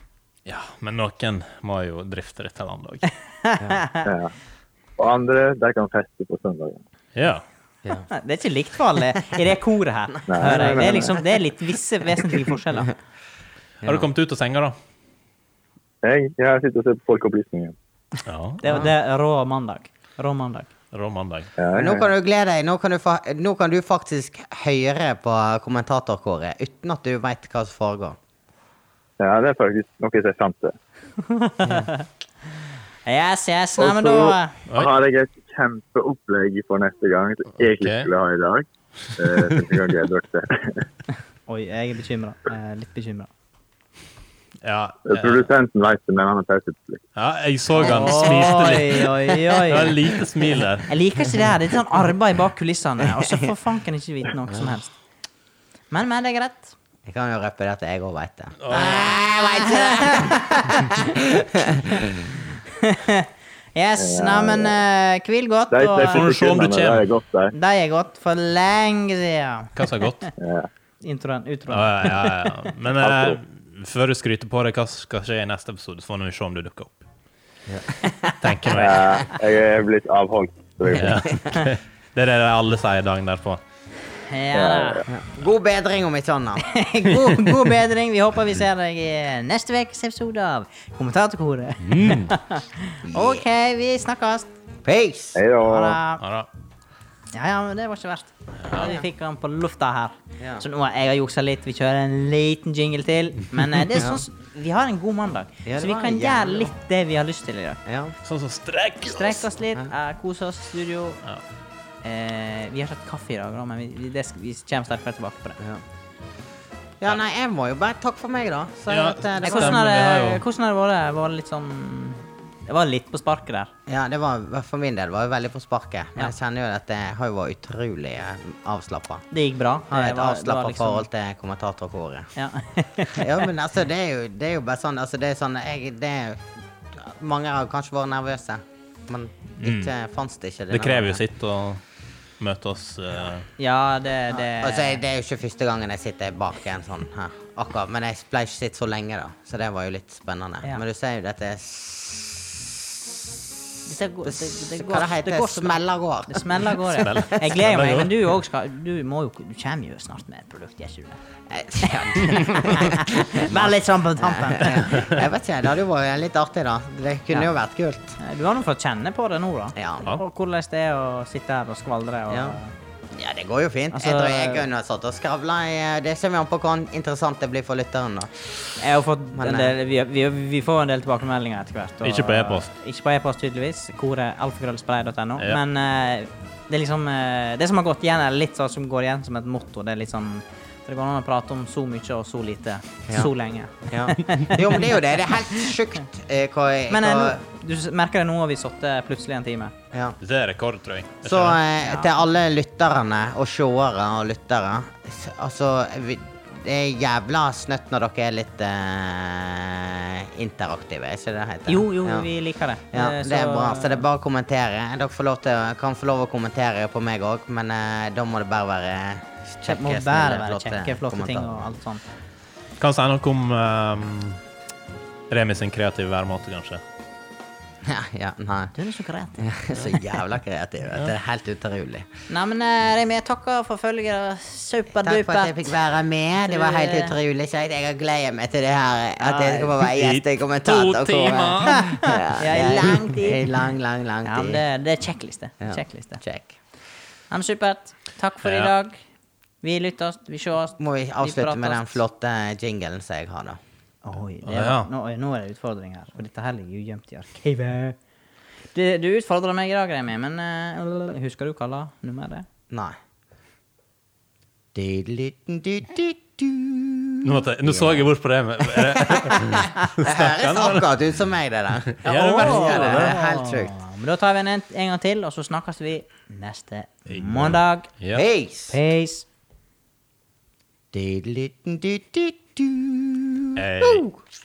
S1: Ja, men noen må jo drifte dette landet òg.
S4: Ja. Og andre, de kan feste på søndagen.
S1: Ja.
S3: ja.
S2: Det er ikke likt for alle i det koret her. hører jeg. Det er liksom det er litt visse vesentlige forskjeller.
S1: Har du kommet ut av senga, da?
S4: Jeg, jeg sitter og ser på Folkeopplysningen.
S1: Ja.
S2: Det, er- det er rå mandag. Rå mandag.
S1: Rå mandag.
S4: Ja,
S3: Men Nå
S4: ja.
S3: kan du glede deg. Nå kan du, fa nå kan du faktisk høre på kommentatorkåret uten at du veit hva som foregår.
S4: ja, det er faktisk noe jeg ser fram til.
S2: Yes, yes. Nei,
S4: Og
S2: men
S4: så
S2: da
S1: Oi.
S4: har jeg et kjempeopplegg for neste gang som jeg
S1: Ok.
S4: egentlig skulle ha i dag. Eh, som jeg har gledet dere til.
S2: Oi, jeg er bekymra. Litt bekymra.
S1: Ja, eh,
S4: Produsenten vet det, men han har pauseplikt.
S1: ja, jeg så han smilte litt.
S2: Oi, oi,
S1: Det var
S2: oi.
S1: lite smil der.
S2: Jeg liker ikke det her. Det er sånn arbeid bak kulissene, og så får fanken ikke vite noe som helst. Men, men, det er greit.
S3: Jeg kan jo røpe det at jeg òg veit det.
S2: Yes, neimen eh, hvil godt,
S4: De
S2: og
S1: Får
S4: de
S1: du se om du
S4: sekundene der
S1: kommer?
S4: er godt der.
S2: de er gått for lenge siden.
S1: Hva som er godt?
S2: Introen, utroen.
S1: Ja, ja, ja, ja. Men eh, før du skryter på deg hva som skal skje i neste episode, så får vi se om du dukker opp. Tenker nå jeg.
S4: Ja, Eh, jeg er blitt avholdt. så jeg-
S1: Ja. Det er det alle sier dagen derpå.
S2: Ja.
S3: God bedring om ikke annet.
S2: God, god bedring. Vi håper vi ser deg i neste ukes episode av Kommentatorkoret. OK, vi snakkes.
S3: Peace!
S4: Hei
S2: Ha det.
S4: da.
S1: Ja, da.
S2: Ja, ja, men det var ikke verst. Vi fikk han på lufta her.
S3: Ja.
S2: Så nå har jeg juksa litt. Vi kjører en liten jingle til. Men eh, det er sånn, s- vi har en god mandag,
S3: Ja, det
S2: så vi
S3: var
S2: kan
S3: jævlig
S2: gjøre
S3: bra.
S2: litt det vi har lyst til i dag.
S3: Ja.
S1: Sånn som strekk
S2: Strekke oss litt, eh, kose oss, studio.
S1: Ja.
S2: Eh, vi har ikke hatt kaffe i dag, da, men vi, vi, det, skal- vi kommer sterkere tilbake på det.
S3: Ja. ja, nei, jeg må jo bare takke for meg, da. Så
S1: Ja,
S3: at, eh, det,
S1: stemmer.
S2: Hvordan
S3: var,
S2: har
S1: vi har
S2: det,
S1: jo-
S2: hvordan har det vært? Var det litt sånn Det var litt på sparket der.
S3: ja, det var for min del var jo veldig på sparket. Men
S2: Ja.
S3: jeg kjenner jo at jeg har jo vært utrolig eh, avslappa.
S2: Det gikk bra.
S3: Har
S2: Det
S3: et
S2: var- det var
S3: avslappa
S2: liksom-
S3: forhold til kommentatorkoret.
S2: Ja.
S3: Ja, men altså, det er jo, det er jo bare sånn Altså, det er sånn jeg, det er, Mange har kanskje vært nervøse, men ikke fantes det ikke.
S1: Mm. Det krever jo sitt å møte oss eh,
S2: ja, det, det
S3: Altså, jeg- det er jo ikke første gangen jeg sitter bak en sånn her. Akkurat, Men jeg ble ikke sitt så lenge, da, så det var jo litt spennende.
S2: Ja.
S3: Men du ser jo dette er
S2: Dette går- det, det, går,
S3: Hva det heter
S2: det går smeller.
S3: Smeller går.
S2: Det smeller av gårde.
S1: Smeller.
S2: Jeg gleder
S1: Smeller
S2: meg,
S1: går.
S2: men du òg skal Du må jo Du kommer jo snart med et produkt, gjør ikke du det? Vær litt sånn på tampen.
S3: Jeg vet ikke, det hadde jo vært litt artig, da. Det kunne
S2: Ja.
S3: jo vært kult.
S2: Du har nå fått kjenne på det nå, da.
S3: Ja.
S2: Og hvordan det er å sitte her og skvaldre og
S3: Ja. Ja, det går jo fint. jeg
S2: Altså-
S3: tror jeg kunne satt og skravla i eh, Det kommer jo an på hvor interessant det blir for lytteren, da.
S2: Jeg har fått
S3: Men, eh,
S2: en del, vi, vi, vi får en del tilbakemeldinger etter hvert.
S1: Ikke på e-post.
S2: Ikke på e-post, tydeligvis. Koret alfakrøllspray.no.
S1: Ja.
S2: Men eh, det er liksom eh, Det som har gått igjen, er litt sånn som går igjen som et motto. Det er litt sånn Det går an å prate om så mye og så lite
S3: Ja.
S2: så lenge.
S3: Ja. Jo, men det er jo det. Det er helt sjukt eh, hva,
S2: Men eh,
S3: hva
S2: nå, du s- merker det nå har vi sittet plutselig en time.
S3: ja.
S1: Det er rekord, tror jeg.
S3: Så eh, til alle lytterne og seere og lyttere s- Altså, vi, det er jævla snøtt når dere er litt eh, interaktive, er ikke det det heter?
S2: Jo, jo,
S3: ja.
S2: vi liker det.
S3: ja,
S2: Eh,
S3: det er bra, så det er bare å kommentere. Dere får lov til, å- kan få lov å kommentere på meg òg, men eh, da må det bare være
S2: det må
S3: kjekke,
S2: bare
S3: snille,
S2: være kjekke, flotte ting
S3: kommentarer.
S2: og alt sånt.
S1: Kan si noe om eh, Remi sin kreative væremåte, kanskje.
S3: Ja, ja, nei.
S2: Du er så kreativ.
S3: Så jævla kreativ. vet du. Det er helt utrolig.
S2: Nei, men eh, Remi, jeg takker for følget.
S3: Takk for at jeg
S2: Superdupert.
S3: fikk være med. Det var helt
S2: eh,
S3: utrolig kjekt. Jeg har gledet meg til det her. At jeg skal få være gjest i kommentator.
S1: to timer.
S2: Ja, i lang tid.
S3: I lang, lang, lang
S2: Ja, men
S3: tid.
S2: det, det er checkliste. Checkliste.
S3: Check.
S2: Ja, men supert. Takk for i
S1: Ja.
S2: dag. Vi lyttes, vi sees.
S3: Må vi avslutte med den
S2: prates.
S3: flotte jinglen som jeg har, da?
S2: Oi, det
S1: Ja,
S2: var,
S1: ja.
S2: nå, oi, nå er det utfordring her. For dette her ligger jo gjemt i arkivet. Du, du utfordrer meg i dag, Remi, men eh, husker du hva la nummeret?
S3: Nei. Du-du-du-du-du.
S1: Nå, måtte, jeg- nå så jeg bort på det. men- Er det
S3: Det høres akkurat ut som meg, det der.
S1: Ja, det
S2: Åh!
S1: merker
S3: det. Det er helt sjukt.
S2: Men da tar vi en, en gang til, og så snakkes vi neste
S1: Ja.
S2: mandag.
S1: ja.
S3: Peace!
S2: Peace.
S3: Du-du-du-du-du.
S1: Hey.
S3: Woo!